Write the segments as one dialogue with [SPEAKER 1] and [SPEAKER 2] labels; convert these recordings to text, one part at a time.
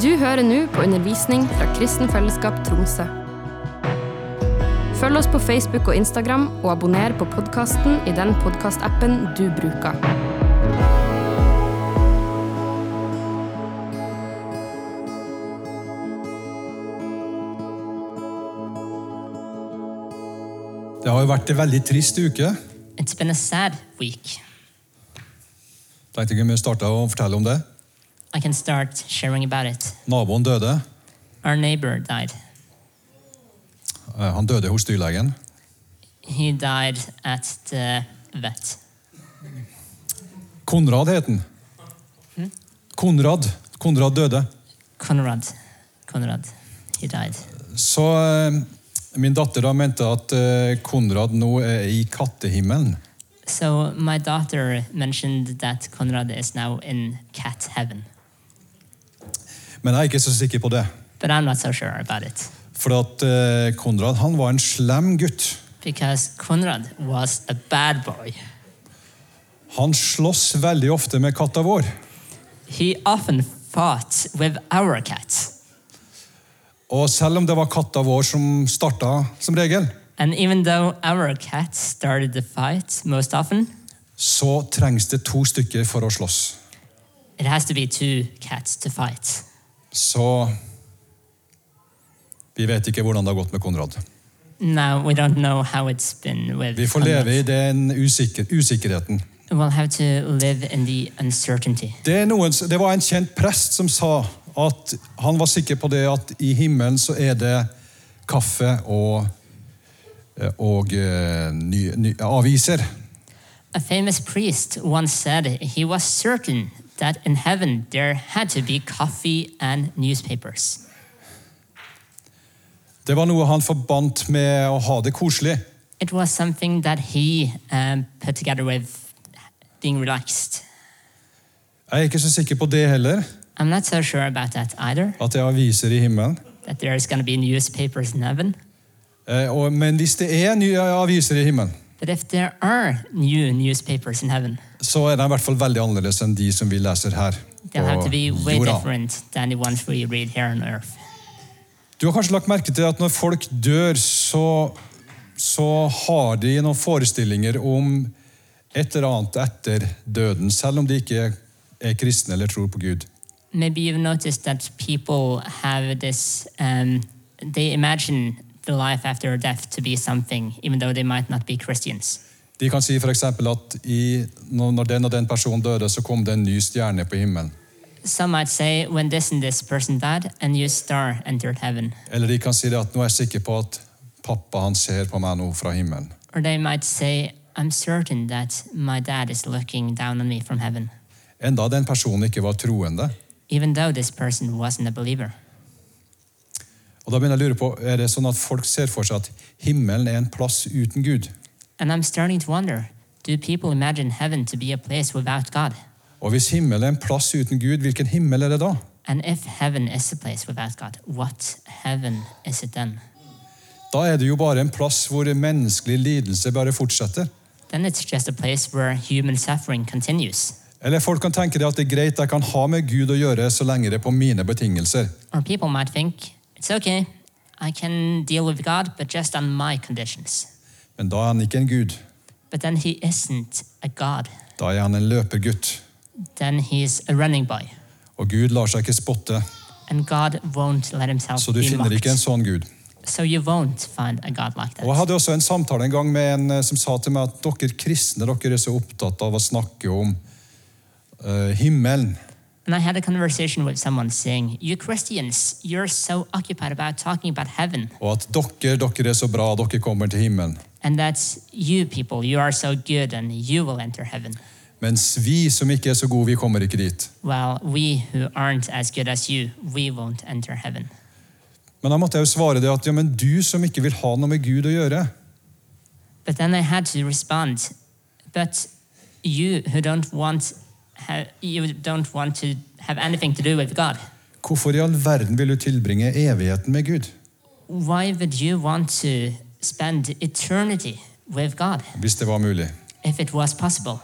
[SPEAKER 1] Du hører nå på undervisning fra Kristen Fellesskap Tromsø. Følg oss på Facebook og Instagram, og abonner på podkasten i den podkastappen du bruker.
[SPEAKER 2] Det har jo vært en veldig trist uke.
[SPEAKER 3] It's been a sad week.
[SPEAKER 2] Tenkte ikke vi starta å fortelle om det.
[SPEAKER 3] I can start sharing about it.
[SPEAKER 2] Naboen døde.
[SPEAKER 3] Our neighbor died.
[SPEAKER 2] Eh, Han døde hos dyrlegen.
[SPEAKER 3] He died at the vet.
[SPEAKER 2] Konrad het han. Konrad. Konrad døde.
[SPEAKER 3] Konrad. Konrad. He died.
[SPEAKER 2] Så eh, min datter da mente at eh, Konrad nå er i kattehimmelen.
[SPEAKER 3] So my daughter mentioned that Konrad is now in cat heaven,
[SPEAKER 2] Men jeg er ikke så sikker på det.
[SPEAKER 3] but I'm not so sure about it
[SPEAKER 2] For at eh, Konrad han var en slem gutt.
[SPEAKER 3] because Konrad was a bad boy.
[SPEAKER 2] Han slåss veldig ofte med katta vår.
[SPEAKER 3] He often fought with our cat,
[SPEAKER 2] Og selv om det var katta vår som starta som regel,
[SPEAKER 3] and even though our cat started the fight most often,
[SPEAKER 2] så trengs det to stykker for å slåss.
[SPEAKER 3] it has to be two cats to fight.
[SPEAKER 2] Så vi vet ikke hvordan det har gått med Konrad.
[SPEAKER 3] No, we don't know how it's been with.
[SPEAKER 2] Vi får
[SPEAKER 3] Conrad.
[SPEAKER 2] leve i den usikker, usikkerheten.
[SPEAKER 3] We'll have to live in the uncertainty.
[SPEAKER 2] Det, er noen, det var en kjent prest som sa at han var sikker på det at i himmelen så er det kaffe og, og eh, ny, ny, aviser.
[SPEAKER 3] A famous priest once said he was certain that in heaven there had to be coffee and newspapers.
[SPEAKER 2] Det var noe han forbandt med å ha det koselig.
[SPEAKER 3] It was something that he um, put together with being relaxed.
[SPEAKER 2] Jeg er ikke så sikker på det heller,
[SPEAKER 3] I'm not so sure about that either,
[SPEAKER 2] at det er aviser i himmelen.
[SPEAKER 3] that there's going to be newspapers in heaven.
[SPEAKER 2] Eh, og, men hvis det er nye aviser i himmelen,
[SPEAKER 3] But if there are new newspapers in heaven,
[SPEAKER 2] så er de i hvert fall veldig annerledes enn de som vi leser her.
[SPEAKER 3] they'll have to be
[SPEAKER 2] på
[SPEAKER 3] way
[SPEAKER 2] jorda.
[SPEAKER 3] different than the ones we read here on earth.
[SPEAKER 2] Du har kanskje lagt merke til at når folk dør, så, så har de noen forestillinger om et eller annet etter døden, selv om de ikke er kristne eller tror på Gud.
[SPEAKER 3] maybe you've noticed that people have this um, they imagine the life after death to be something even though they might not be christians
[SPEAKER 2] De kan si f.eks. at i, når når den og den personen døde, så kom det en ny stjerne på himmelen.
[SPEAKER 3] some might say when this and this person died a new star entered heaven
[SPEAKER 2] Eller de kan si det at nå er jeg sikker på at pappa han ser på meg nå fra himmelen.
[SPEAKER 3] or they might say i'm certain that my dad is looking down on me from heaven
[SPEAKER 2] Enda den personen ikke var troende.
[SPEAKER 3] even though this person wasn't a believer
[SPEAKER 2] Og da begynner jeg å lure på, Er det sånn at folk ser for seg at himmelen er en plass uten Gud?
[SPEAKER 3] and i'm starting to wonder do people imagine heaven to be a place without god
[SPEAKER 2] Og hvis himmelen er en plass uten Gud, hvilken himmel er det da?
[SPEAKER 3] and if heaven is a place without god what heaven is it then
[SPEAKER 2] Da er det jo bare en plass hvor menneskelig lidelse bare fortsetter.
[SPEAKER 3] then it's just a place where human suffering continues.
[SPEAKER 2] Eller folk kan tenke det at det er greit, jeg kan ha med Gud å gjøre så lenge det er på mine betingelser.
[SPEAKER 3] Or people might think, it's okay, I can deal with God, but just on my conditions.
[SPEAKER 2] Men da er han ikke en gud.
[SPEAKER 3] But then he isn't a God.
[SPEAKER 2] Da er han en løpergutt.
[SPEAKER 3] Then he's a running boy.
[SPEAKER 2] Og Gud lar seg ikke spotte,
[SPEAKER 3] And God won't let himself
[SPEAKER 2] så du
[SPEAKER 3] be
[SPEAKER 2] finner
[SPEAKER 3] mocked.
[SPEAKER 2] ikke en sånn Gud.
[SPEAKER 3] So you won't find a God like that.
[SPEAKER 2] Og Jeg hadde også en samtale en gang med en eh, som sa til meg at dere kristne dere er så opptatt av å snakke om eh, himmelen.
[SPEAKER 3] And I had a conversation with someone saying, You Christians, you're so occupied about talking about heaven.
[SPEAKER 2] Og at dere, dere er så bra, dere kommer til himmelen.
[SPEAKER 3] And that's you people, you are so good and you will enter heaven.
[SPEAKER 2] Mens vi som ikke er så gode, vi kommer ikke dit.
[SPEAKER 3] Well, we who aren't as good as you, we won't enter heaven.
[SPEAKER 2] Men da måtte jeg jo svare det at ja, men du som ikke vil ha noe med Gud å gjøre,
[SPEAKER 3] But then I had to respond, but you who don't want ha- you don't want to have anything to do with God.
[SPEAKER 2] hvorfor i all verden vil du tilbringe evigheten med Gud?
[SPEAKER 3] Why would you want to spend eternity with God
[SPEAKER 2] Hvis det var mulig.
[SPEAKER 3] if it was possible?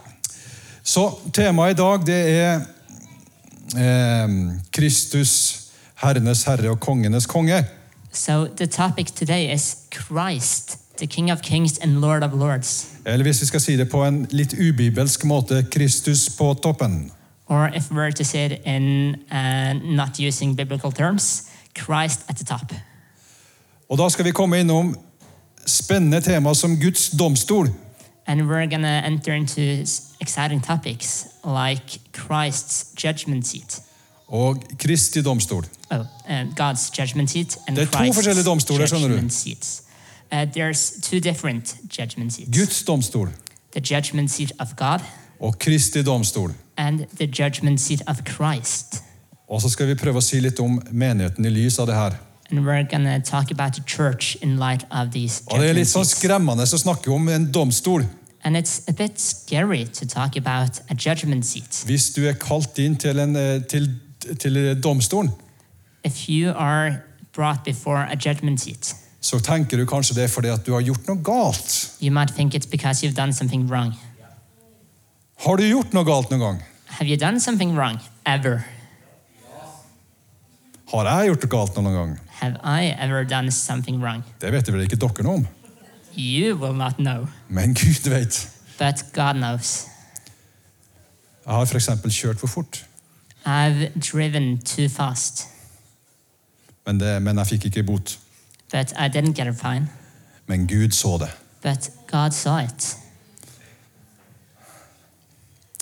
[SPEAKER 2] Så temaet i dag, det er eh, Kristus herrenes herre og kongenes konge.
[SPEAKER 3] So the topic today is Christ, the King of Kings and Lord of Lords.
[SPEAKER 2] Eller hvis vi skal si det på en litt ubibelsk måte Kristus på toppen.
[SPEAKER 3] Or if we're to say it in uh, not using biblical terms, Christ at the top.
[SPEAKER 2] Og da skal vi komme innom spennende tema som Guds domstol.
[SPEAKER 3] And we're going to enter into s- exciting topics like Christ's judgment seat.
[SPEAKER 2] og Kristi domstol.
[SPEAKER 3] Oh, uh, God's judgment seat and
[SPEAKER 2] Det er to
[SPEAKER 3] Christ's
[SPEAKER 2] forskjellige domstoler, skjønner du.
[SPEAKER 3] judgment seats. Uh, there's two different judgment seats.
[SPEAKER 2] Guds domstol
[SPEAKER 3] The judgment seat of God
[SPEAKER 2] og Kristi domstol.
[SPEAKER 3] and the judgment seat of Christ.
[SPEAKER 2] Og så skal vi prøve å si litt om menigheten i lys av det her.
[SPEAKER 3] And we're going to talk about the church in light of these
[SPEAKER 2] Og Det er
[SPEAKER 3] judgment
[SPEAKER 2] litt sånn
[SPEAKER 3] seats.
[SPEAKER 2] skremmende å snakke om en domstol.
[SPEAKER 3] And it's a bit scary to talk about a judgment seat.
[SPEAKER 2] Hvis du er kalt inn til, en, eh, til, til domstolen,
[SPEAKER 3] If you are brought before a judgment seat,
[SPEAKER 2] så tenker du kanskje det er fordi at du har gjort noe galt.
[SPEAKER 3] you might think it's because you've done something wrong.
[SPEAKER 2] Har du gjort noe galt noen gang?
[SPEAKER 3] Have you done something wrong ever?
[SPEAKER 2] Har jeg gjort noe galt noen gang?
[SPEAKER 3] Have I ever done something wrong?
[SPEAKER 2] Det vet vel ikke dere noe om,
[SPEAKER 3] You will not know,
[SPEAKER 2] men Gud vet.
[SPEAKER 3] but God knows.
[SPEAKER 2] Jeg har f.eks. kjørt for fort,
[SPEAKER 3] I've driven too fast,
[SPEAKER 2] men, det, men jeg fikk ikke bot.
[SPEAKER 3] but I didn't get a fine.
[SPEAKER 2] Men Gud så det,
[SPEAKER 3] But God saw it,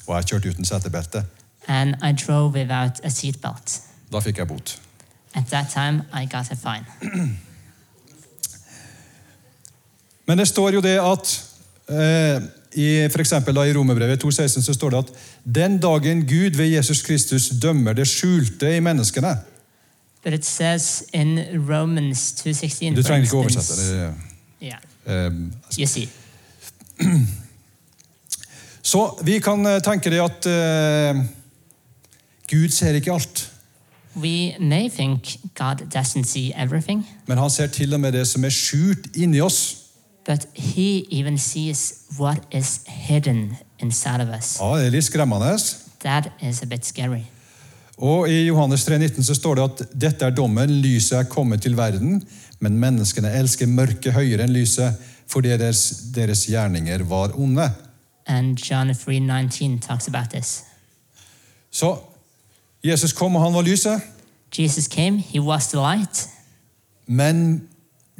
[SPEAKER 2] og jeg kjørte uten setebelte.
[SPEAKER 3] and I drove without a seatbelt.
[SPEAKER 2] Da fikk jeg bot.
[SPEAKER 3] At that time, I got a fine.
[SPEAKER 2] Men det står jo det at eh, i, for eksempel da I Romerbrevet 2,16 så står det at den dagen Gud ved Jesus Kristus dømmer det skjulte i menneskene
[SPEAKER 3] But it says in Romans 2.16,
[SPEAKER 2] Du
[SPEAKER 3] for
[SPEAKER 2] trenger ikke
[SPEAKER 3] instance-
[SPEAKER 2] oversette det.
[SPEAKER 3] Yeah,
[SPEAKER 2] Eh,
[SPEAKER 3] you see.
[SPEAKER 2] så vi kan eh, tenke det at eh, Gud ser ikke alt,
[SPEAKER 3] We may think God doesn't see everything,
[SPEAKER 2] men han ser til og med det som er skjult inni oss.
[SPEAKER 3] but he even sees what is hidden inside of us.
[SPEAKER 2] Ja, Det er litt skremmende.
[SPEAKER 3] That is a bit scary.
[SPEAKER 2] Og I Johannes 3,19 så står det at dette er dommen, lyset er kommet til verden, men menneskene elsker mørket høyere enn lyset, fordi deres, deres gjerninger var onde.
[SPEAKER 3] And John 3:19 talks about this.
[SPEAKER 2] Så Jesus kom, og han var lyset,
[SPEAKER 3] Jesus came, he was the light,
[SPEAKER 2] men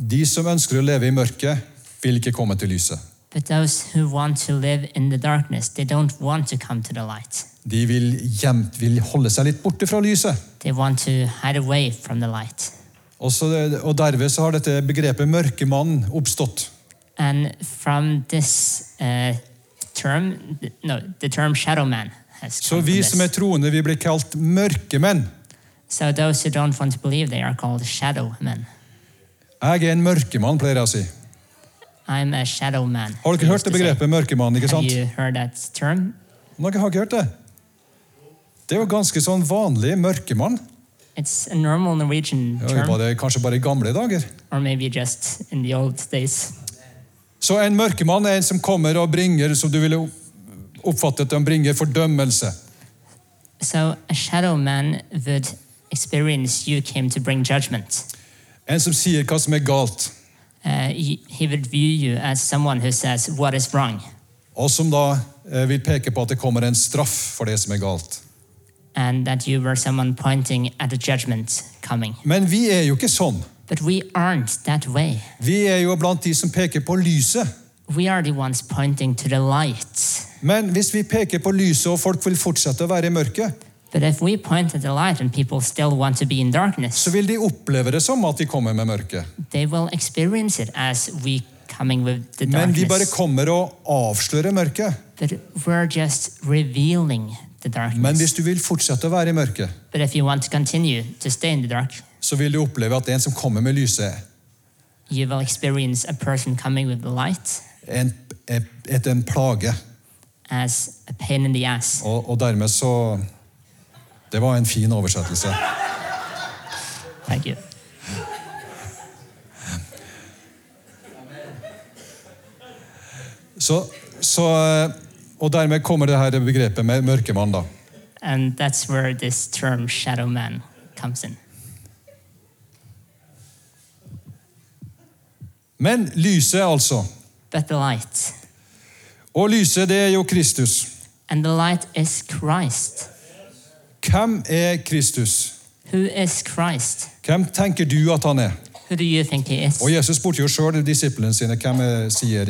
[SPEAKER 2] de som ønsker å leve i mørket, vil ikke komme til lyset.
[SPEAKER 3] but those who want to live in the darkness, they don't want to come to the light.
[SPEAKER 2] De vil, gjemt, vil holde seg litt borte fra lyset.
[SPEAKER 3] They want to hide away from the light.
[SPEAKER 2] Og, så, og derved så har dette begrepet mørkemann oppstått.
[SPEAKER 3] And from this uh, term, th- no, the term shadow man has
[SPEAKER 2] Så
[SPEAKER 3] come from
[SPEAKER 2] vi
[SPEAKER 3] this.
[SPEAKER 2] som er troende, vi blir kalt mørkemenn.
[SPEAKER 3] So those who don't want to believe, they are called shadow men.
[SPEAKER 2] Jeg er en mørkemann, pleier jeg å si.
[SPEAKER 3] I'm a shadow man.
[SPEAKER 2] Har
[SPEAKER 3] he
[SPEAKER 2] dere hørt
[SPEAKER 3] used
[SPEAKER 2] det
[SPEAKER 3] to say.
[SPEAKER 2] begrepet mørkemann? ikke sant?
[SPEAKER 3] Have you heard that term?
[SPEAKER 2] Nei, jeg har ikke hørt det. Det er jo ganske sånn vanlig mørkemann.
[SPEAKER 3] It's a normal Norwegian
[SPEAKER 2] Ja, det
[SPEAKER 3] term,
[SPEAKER 2] var det kanskje bare i gamle dager.
[SPEAKER 3] or maybe just in the old days.
[SPEAKER 2] Så en mørkemann er en som kommer og bringer, som du ville oppfattet han bringer fordømmelse.
[SPEAKER 3] So a shadow man would experience you came to bring judgment.
[SPEAKER 2] En som sier hva som er galt,
[SPEAKER 3] Uh, he, he would view you as someone who says what is wrong,
[SPEAKER 2] og som da eh, vil peke på at det kommer en straff for det som er galt.
[SPEAKER 3] and that you were someone pointing at a judgment coming.
[SPEAKER 2] Men vi er jo ikke sånn.
[SPEAKER 3] But we aren't that way.
[SPEAKER 2] Vi er jo blant de som peker på lyset.
[SPEAKER 3] We are the ones pointing to the light.
[SPEAKER 2] Men hvis vi peker på lyset, og folk vil fortsette å være i mørket,
[SPEAKER 3] But if we point at the light and people still want to be in darkness,
[SPEAKER 2] så vil de oppleve det som at de kommer med mørket.
[SPEAKER 3] they will experience it as we coming with the
[SPEAKER 2] Men vi bare
[SPEAKER 3] darkness.
[SPEAKER 2] kommer og avslører mørket.
[SPEAKER 3] But we're just revealing the
[SPEAKER 2] Men
[SPEAKER 3] darkness.
[SPEAKER 2] hvis du vil fortsette å være i mørket,
[SPEAKER 3] But if you want to continue to stay in the dark,
[SPEAKER 2] så vil du oppleve at en som kommer med lyset,
[SPEAKER 3] you will experience a person coming with the light
[SPEAKER 2] er en, er, er en plage.
[SPEAKER 3] as a pain in the ass.
[SPEAKER 2] Og, og dermed så Det var en fin oversettelse.
[SPEAKER 3] Thank you.
[SPEAKER 2] Så, så, og dermed kommer det her begrepet med mørkemann, da.
[SPEAKER 3] And that's where this term shadow man comes in.
[SPEAKER 2] Men lyset, altså.
[SPEAKER 3] but the light.
[SPEAKER 2] Og lyset, det er jo Kristus.
[SPEAKER 3] And the light is Christ.
[SPEAKER 2] Hvem er Kristus?
[SPEAKER 3] Who is Christ?
[SPEAKER 2] Hvem tenker du at han er?
[SPEAKER 3] Who do you think he is?
[SPEAKER 2] Og Jesus spurte jo sjøl disiplene sine hvem eh, sier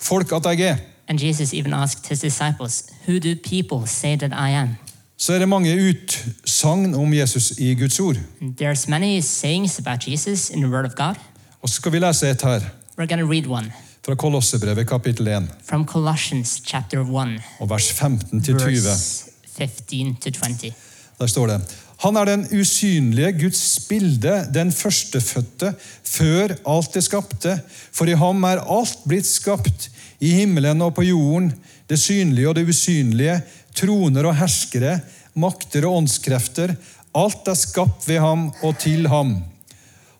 [SPEAKER 2] folk at jeg er.
[SPEAKER 3] And Jesus even asked his disciples, Who do people say that I am?
[SPEAKER 2] Så er det mange utsagn om Jesus i Guds ord.
[SPEAKER 3] And There's many sayings about Jesus in the Word of God.
[SPEAKER 2] Og så skal vi lese et her,
[SPEAKER 3] We're going to read one
[SPEAKER 2] fra Kolossebrevet kapittel 1,
[SPEAKER 3] from Colossians chapter 1,
[SPEAKER 2] og vers 15 til 20.
[SPEAKER 3] verse 15 to 20.
[SPEAKER 2] Der står det Han er den usynlige Guds bilde, den førstefødte, før alt det skapte. For i ham er alt blitt skapt, i himmelen og på jorden, det synlige og det usynlige, troner og herskere, makter og åndskrefter. Alt er skapt ved ham og til ham.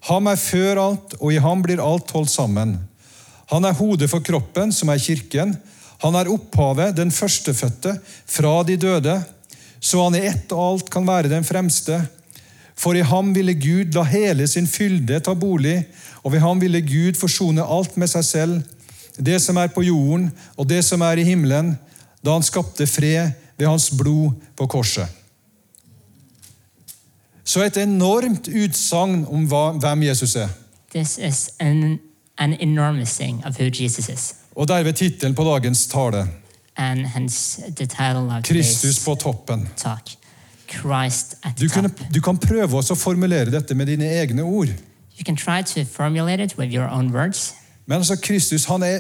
[SPEAKER 2] Ham er før alt, og i ham blir alt holdt sammen. Han er hodet for kroppen, som er kirken. Han er opphavet, den førstefødte, fra de døde. Så han i ett og alt kan være den fremste. For i ham ville Gud la hele sin fylde ta bolig, og ved ham ville Gud forsone alt med seg selv, det som er på jorden og det som er i himmelen, da han skapte fred ved hans blod på korset. Så et enormt utsagn om hva, hvem Jesus er.
[SPEAKER 3] This is an, an enormous saying of who Jesus is,
[SPEAKER 2] Og derved tittelen på dagens tale
[SPEAKER 3] and hence the title of
[SPEAKER 2] Kristus
[SPEAKER 3] today's
[SPEAKER 2] på toppen.
[SPEAKER 3] talk Christ at
[SPEAKER 2] Du,
[SPEAKER 3] the
[SPEAKER 2] kunne,
[SPEAKER 3] top.
[SPEAKER 2] du kan prøve også å formulere dette med dine egne ord.
[SPEAKER 3] You can try to formulate it with your own words,
[SPEAKER 2] Men altså, Kristus han er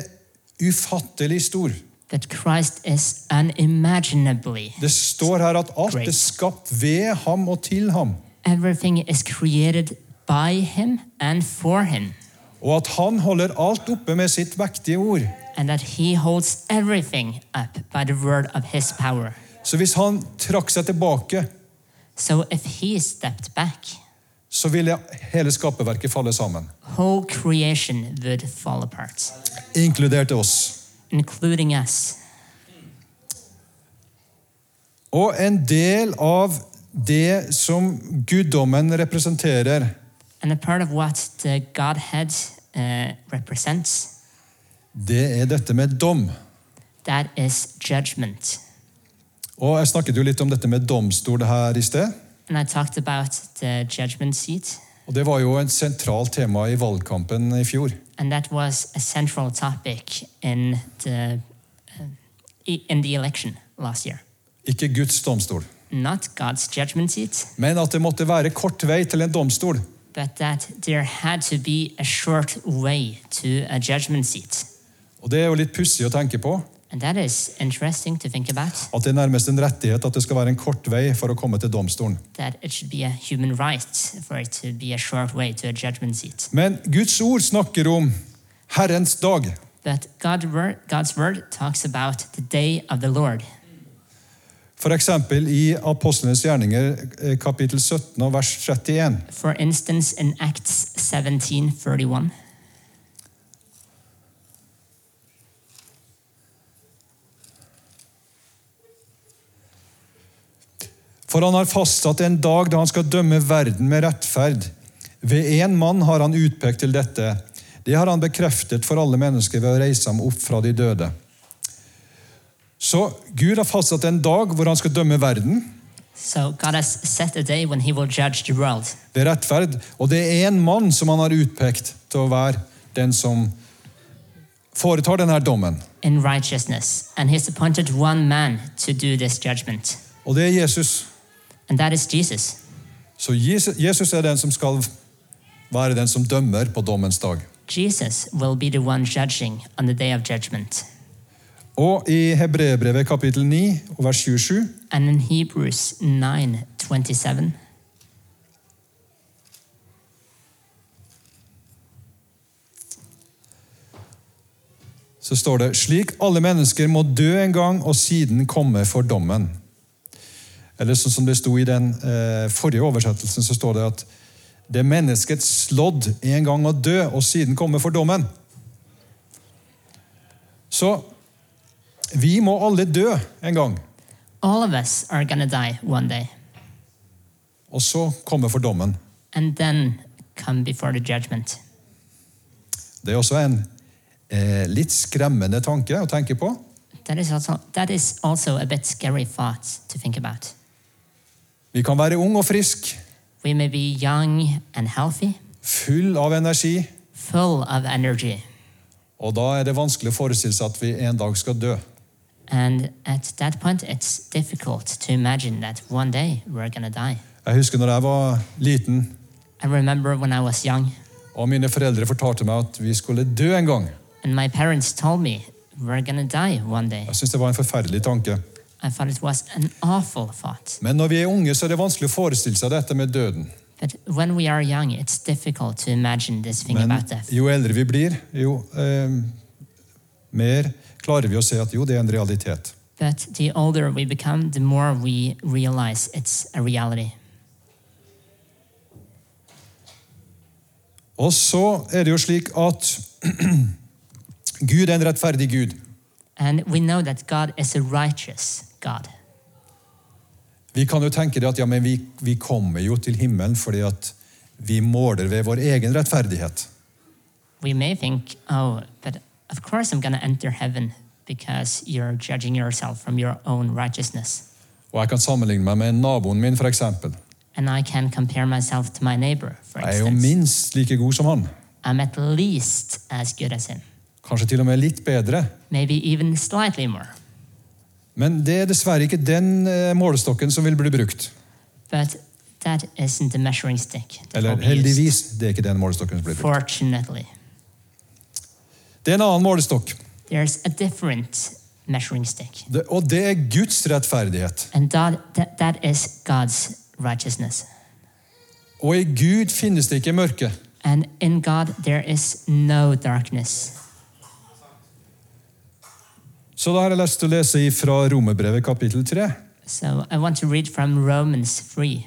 [SPEAKER 2] ufattelig stor.
[SPEAKER 3] but Christ is unimaginably.
[SPEAKER 2] Det står her at alt
[SPEAKER 3] Great.
[SPEAKER 2] er skapt ved ham og til ham.
[SPEAKER 3] Everything is created by him and for him,
[SPEAKER 2] Og at han holder alt oppe med sitt vektige ord.
[SPEAKER 3] and that he holds everything up by the word of his power.
[SPEAKER 2] Så hvis han trakk seg tilbake,
[SPEAKER 3] So if he stepped back,
[SPEAKER 2] så ville hele skaperverket falle sammen.
[SPEAKER 3] whole creation would fall apart,
[SPEAKER 2] Inkludert oss.
[SPEAKER 3] including us.
[SPEAKER 2] Og en del av det som guddommen representerer,
[SPEAKER 3] And a part of what the Godhead uh, represents,
[SPEAKER 2] det er dette med dom.
[SPEAKER 3] that is judgment.
[SPEAKER 2] Og jeg snakket jo litt om dette med domstol her i sted.
[SPEAKER 3] And I talked about the judgment seat,
[SPEAKER 2] Og det var jo et sentralt tema i valgkampen i fjor.
[SPEAKER 3] and that was a central topic in the uh, e- in the election last year.
[SPEAKER 2] Ikke Guds domstol.
[SPEAKER 3] Not God's judgment seat,
[SPEAKER 2] Men at det måtte være kort vei til en domstol.
[SPEAKER 3] but that there had to be a short way to a judgment seat.
[SPEAKER 2] Og det er jo litt pussig å tenke på.
[SPEAKER 3] And that is interesting to think about
[SPEAKER 2] At det er nærmest en rettighet at det skal være en kort vei for å komme til domstolen.
[SPEAKER 3] that it should be a human right for it to be a short way to a judgment seat.
[SPEAKER 2] Men Guds ord snakker om Herrens dag.
[SPEAKER 3] But God wor- God's word talks about the day of the Lord.
[SPEAKER 2] F.eks. i Apostlenes gjerninger eh, kapittel 17 og vers 31.
[SPEAKER 3] For instance, in Acts 17:31,
[SPEAKER 2] For han har fastsatt en dag da han skal dømme verden med rettferd. Ved én mann har han utpekt til dette. Det har han bekreftet for alle mennesker ved å reise ham opp fra de døde. Så Gud har fastsatt en dag hvor han skal dømme verden
[SPEAKER 3] So God has set a day when He will judge the world.
[SPEAKER 2] ved rettferd, og det er én mann som han har utpekt til å være den som foretar denne dommen.
[SPEAKER 3] in righteousness, and he's appointed one man to do this judgment,
[SPEAKER 2] Og det er Jesus.
[SPEAKER 3] and that is Jesus.
[SPEAKER 2] Så Jesus Jesus er den som skal være den som dømmer på dommens dag.
[SPEAKER 3] Jesus will be the one judging on the day of judgment.
[SPEAKER 2] Og i Hebreerbrevet kapittel 9 og vers 27
[SPEAKER 3] And in Hebrews 9 27,
[SPEAKER 2] så står det slik alle mennesker må dø en gang og siden komme for dommen. Eller sånn som det sto i den eh, forrige oversettelsen, så står det at det er menneskets lodd en gang å dø og siden komme for dommen. Så vi må alle dø en gang,
[SPEAKER 3] all of us are gonna die one day
[SPEAKER 2] og så komme for dommen.
[SPEAKER 3] and then come before the judgment.
[SPEAKER 2] Det er også en eh, litt skremmende tanke å tenke på.
[SPEAKER 3] That is also that is also a bit scary thought to think about.
[SPEAKER 2] Vi kan være ung og frisk,
[SPEAKER 3] We may be young and healthy,
[SPEAKER 2] full av energi,
[SPEAKER 3] full of energy,
[SPEAKER 2] og da er det vanskelig å forestille seg at vi en dag skal dø.
[SPEAKER 3] and at that point it's difficult to imagine that one day we're gonna die.
[SPEAKER 2] Jeg husker når jeg var liten,
[SPEAKER 3] I remember when I was young,
[SPEAKER 2] og mine foreldre fortalte meg at vi skulle dø en gang.
[SPEAKER 3] and my parents told me we're gonna die one day.
[SPEAKER 2] Jeg synes det var en forferdelig tanke.
[SPEAKER 3] I thought it was an awful thought.
[SPEAKER 2] Men når vi er unge, så er det vanskelig å forestille seg dette med døden.
[SPEAKER 3] But when we are young, it's difficult to imagine this thing
[SPEAKER 2] Men
[SPEAKER 3] about death.
[SPEAKER 2] jo eldre vi blir, jo eh, mer klarer vi å se at jo, det er en realitet.
[SPEAKER 3] But the older we become, the more we realize it's a reality.
[SPEAKER 2] Og så er det jo slik at Gud er en rettferdig Gud.
[SPEAKER 3] And we know that God is a righteous God.
[SPEAKER 2] Vi kan jo tenke det at ja, men vi, vi kommer jo til himmelen fordi at vi måler ved vår egen rettferdighet.
[SPEAKER 3] We may think, oh, but of course I'm going to enter heaven because you're judging yourself from your own righteousness.
[SPEAKER 2] Og jeg kan sammenligne meg med naboen min, f.eks.
[SPEAKER 3] And I can compare myself to my neighbor, for
[SPEAKER 2] Jeg er jo
[SPEAKER 3] instance.
[SPEAKER 2] minst like god som han.
[SPEAKER 3] I'm at least as good as him,
[SPEAKER 2] Kanskje til og med litt bedre.
[SPEAKER 3] maybe even slightly more.
[SPEAKER 2] Men det er dessverre ikke den eh, målestokken som vil bli brukt.
[SPEAKER 3] But that isn't the measuring stick. that will
[SPEAKER 2] Eller
[SPEAKER 3] be used,
[SPEAKER 2] heldigvis, det er ikke den målestokken som blir brukt.
[SPEAKER 3] Fortunately,
[SPEAKER 2] Det er en annen målestokk,
[SPEAKER 3] there's a different measuring stick.
[SPEAKER 2] Det- og det er Guds rettferdighet.
[SPEAKER 3] And that, that, that is God's righteousness.
[SPEAKER 2] Og i Gud finnes det ikke mørke.
[SPEAKER 3] And in God, there is no darkness.
[SPEAKER 2] Så da har jeg lyst til å lese fra Romerbrevet kapittel 3.
[SPEAKER 3] So I want to read from Romans 3,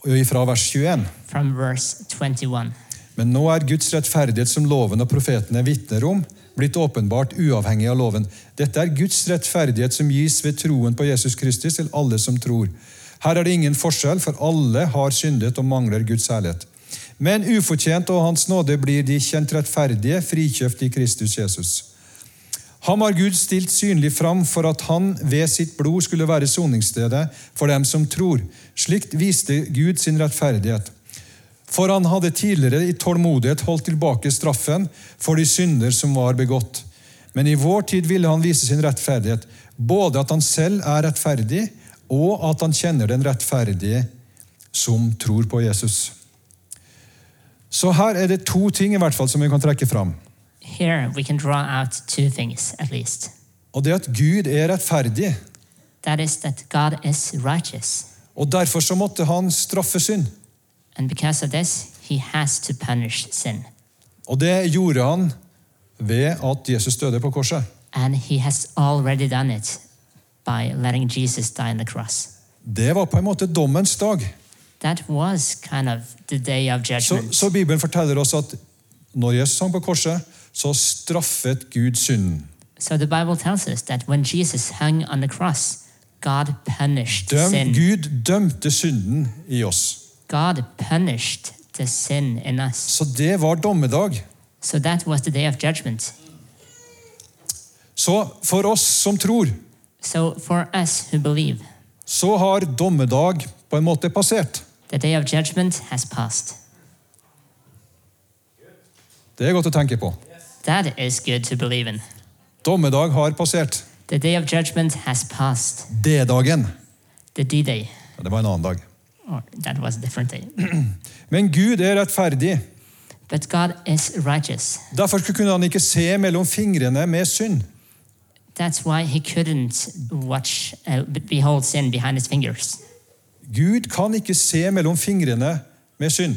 [SPEAKER 2] og Fra vers 21.
[SPEAKER 3] from verse 21.
[SPEAKER 2] Men nå er Guds rettferdighet, som loven og profetene vitner om, blitt åpenbart uavhengig av loven. Dette er Guds rettferdighet som gis ved troen på Jesus Kristus til alle som tror. Her er det ingen forskjell, for alle har syndet og mangler Guds herlighet. Men ufortjent og Hans nåde blir de kjent rettferdige, frikjøpt i Kristus Jesus. Ham har Gud stilt synlig fram for at han ved sitt blod skulle være soningsstedet for dem som tror. Slikt viste Gud sin rettferdighet. For han hadde tidligere i tålmodighet holdt tilbake straffen for de synder som var begått. Men i vår tid ville han vise sin rettferdighet, både at han selv er rettferdig, og at han kjenner den rettferdige som tror på Jesus. Så her er det to ting i hvert fall som vi kan trekke fram.
[SPEAKER 3] Here, we can draw out two things, at least.
[SPEAKER 2] Og det at Gud er rettferdig,
[SPEAKER 3] That is that God is righteous.
[SPEAKER 2] og derfor så måtte han straffe synd.
[SPEAKER 3] And because of this, he has to punish sin.
[SPEAKER 2] Og det gjorde han ved at Jesus døde på korset.
[SPEAKER 3] And he has already done it by letting Jesus die on the cross.
[SPEAKER 2] Det var på en måte dommens dag.
[SPEAKER 3] That was kind of the day of
[SPEAKER 2] Så,
[SPEAKER 3] judgment.
[SPEAKER 2] så Bibelen forteller oss at når Jesus hang på korset, så straffet Gud synden.
[SPEAKER 3] so the Bible tells us that when Jesus hung on the cross, God punished
[SPEAKER 2] Døm,
[SPEAKER 3] sin.
[SPEAKER 2] Gud dømte synden i oss.
[SPEAKER 3] God punished the sin in us.
[SPEAKER 2] Så det var dommedag.
[SPEAKER 3] So that was the day of judgment.
[SPEAKER 2] Så for oss som tror,
[SPEAKER 3] So for us who believe,
[SPEAKER 2] så har dommedag på en måte passert.
[SPEAKER 3] the day of judgment has passed.
[SPEAKER 2] Det er godt å tenke på.
[SPEAKER 3] That is good to believe in.
[SPEAKER 2] Dommedag har passert.
[SPEAKER 3] The day of judgment has passed.
[SPEAKER 2] D-dagen.
[SPEAKER 3] The D Day.
[SPEAKER 2] Ja, det var en annen dag.
[SPEAKER 3] Or that was a different day.
[SPEAKER 2] Men Gud er rettferdig.
[SPEAKER 3] but God is righteous.
[SPEAKER 2] Derfor kunne han ikke se mellom fingrene med synd.
[SPEAKER 3] That's why he couldn't watch, uh, behold sin behind his fingers.
[SPEAKER 2] Gud kan ikke se mellom fingrene med synd.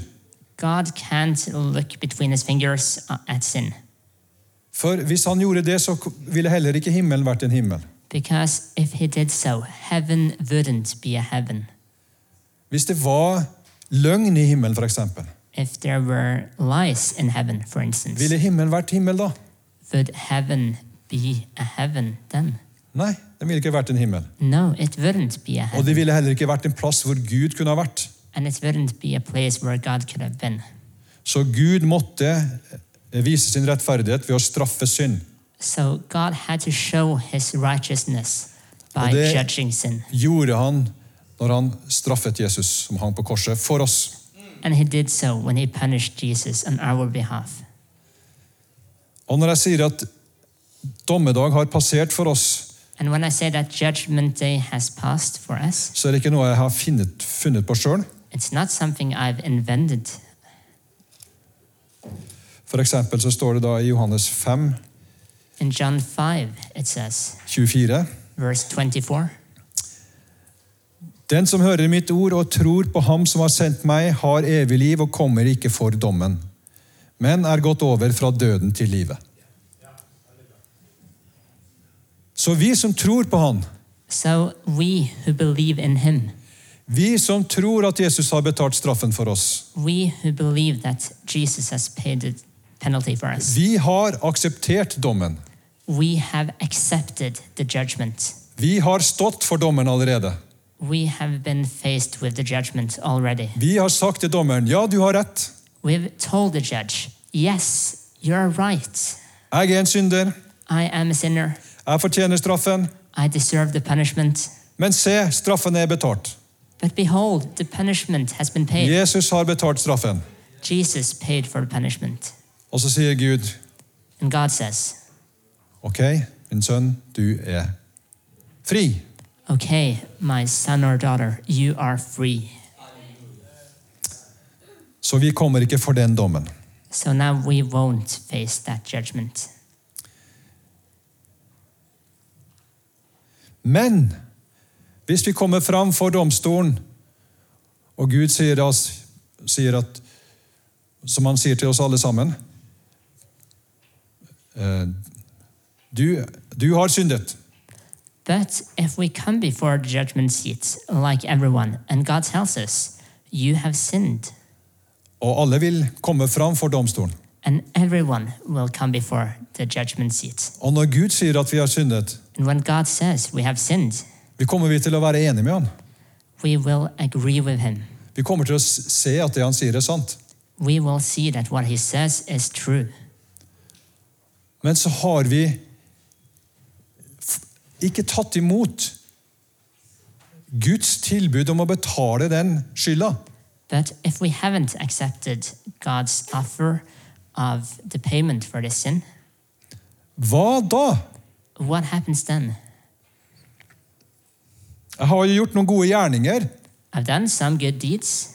[SPEAKER 3] God can't look between his fingers uh, at sin.
[SPEAKER 2] For hvis han gjorde det, så ville heller ikke himmelen vært en himmel.
[SPEAKER 3] Because if he did so, heaven wouldn't be a heaven.
[SPEAKER 2] Hvis det var løgn i himmelen, f.eks.,
[SPEAKER 3] If there were lies in heaven, for instance,
[SPEAKER 2] ville himmelen vært himmel da?
[SPEAKER 3] would heaven be a heaven then?
[SPEAKER 2] Nei, den ville ikke vært en himmel.
[SPEAKER 3] No, it wouldn't be a
[SPEAKER 2] Og
[SPEAKER 3] heaven.
[SPEAKER 2] det ville heller ikke vært en plass hvor Gud kunne ha vært.
[SPEAKER 3] And it wouldn't be a place where God could have been.
[SPEAKER 2] Så Gud måtte eh, vise sin rettferdighet ved å straffe synd.
[SPEAKER 3] So God had to show his righteousness by
[SPEAKER 2] Og det-
[SPEAKER 3] judging sin.
[SPEAKER 2] Gjorde han når han straffet Jesus, som hang på korset, for oss.
[SPEAKER 3] And he did so when he punished Jesus on our behalf.
[SPEAKER 2] Og når jeg sier at dommedag har passert for oss,
[SPEAKER 3] And when I say that judgment day has passed for us,
[SPEAKER 2] så er det ikke noe jeg har finnet, funnet på sjøl.
[SPEAKER 3] it's not something I've invented.
[SPEAKER 2] F.eks. så står det da i Johannes 5,
[SPEAKER 3] In John 5, it says,
[SPEAKER 2] 24.
[SPEAKER 3] verse 24,
[SPEAKER 2] Den som hører mitt ord og tror på ham som har sendt meg, har evig liv og kommer ikke for dommen, men er gått over fra døden til livet. Så vi som tror på han,
[SPEAKER 3] So we who believe in him,
[SPEAKER 2] vi som tror at Jesus har betalt straffen for oss,
[SPEAKER 3] we who believe that Jesus has paid the penalty for us,
[SPEAKER 2] vi har akseptert dommen.
[SPEAKER 3] we have accepted the judgment.
[SPEAKER 2] Vi har stått for dommen allerede.
[SPEAKER 3] We have been faced with the judgment already.
[SPEAKER 2] Vi har sagt til dommeren ja, du har rett.
[SPEAKER 3] We've told the judge, yes, you're right.
[SPEAKER 2] Jeg er en synder.
[SPEAKER 3] I am a sinner.
[SPEAKER 2] Jeg fortjener straffen.
[SPEAKER 3] I deserve the punishment.
[SPEAKER 2] Men se, straffen er betalt.
[SPEAKER 3] But behold, the punishment has been paid.
[SPEAKER 2] Jesus har betalt straffen.
[SPEAKER 3] Jesus paid for the punishment.
[SPEAKER 2] Og så sier Gud
[SPEAKER 3] And God says,
[SPEAKER 2] Ok, min sønn, du er fri.
[SPEAKER 3] okay, my son or daughter, you are free.
[SPEAKER 2] Så vi kommer ikke for den dommen.
[SPEAKER 3] So now we won't face that judgment.
[SPEAKER 2] Men hvis vi kommer fram for domstolen, og Gud sier, oss, sier at Som han sier til oss alle sammen eh, du, du har syndet.
[SPEAKER 3] But if we come before the judgment seat, like everyone, and God tells us, you have sinned,
[SPEAKER 2] Og alle vil komme fram for domstolen.
[SPEAKER 3] and everyone will come before the judgment seat.
[SPEAKER 2] Og når Gud sier at vi har syndet,
[SPEAKER 3] And when God says we have sinned,
[SPEAKER 2] vi kommer vi til å være enige med han.
[SPEAKER 3] we will agree with him.
[SPEAKER 2] Vi kommer til å s- se at det han sier, er sant.
[SPEAKER 3] We will see that what he says is true.
[SPEAKER 2] Men så har vi f- ikke tatt imot Guds tilbud om å betale den skylda.
[SPEAKER 3] But if we haven't accepted God's offer of the payment for this sin,
[SPEAKER 2] Hva da?
[SPEAKER 3] what happens then?
[SPEAKER 2] Jeg har jo gjort noen gode gjerninger.
[SPEAKER 3] I've done some good deeds.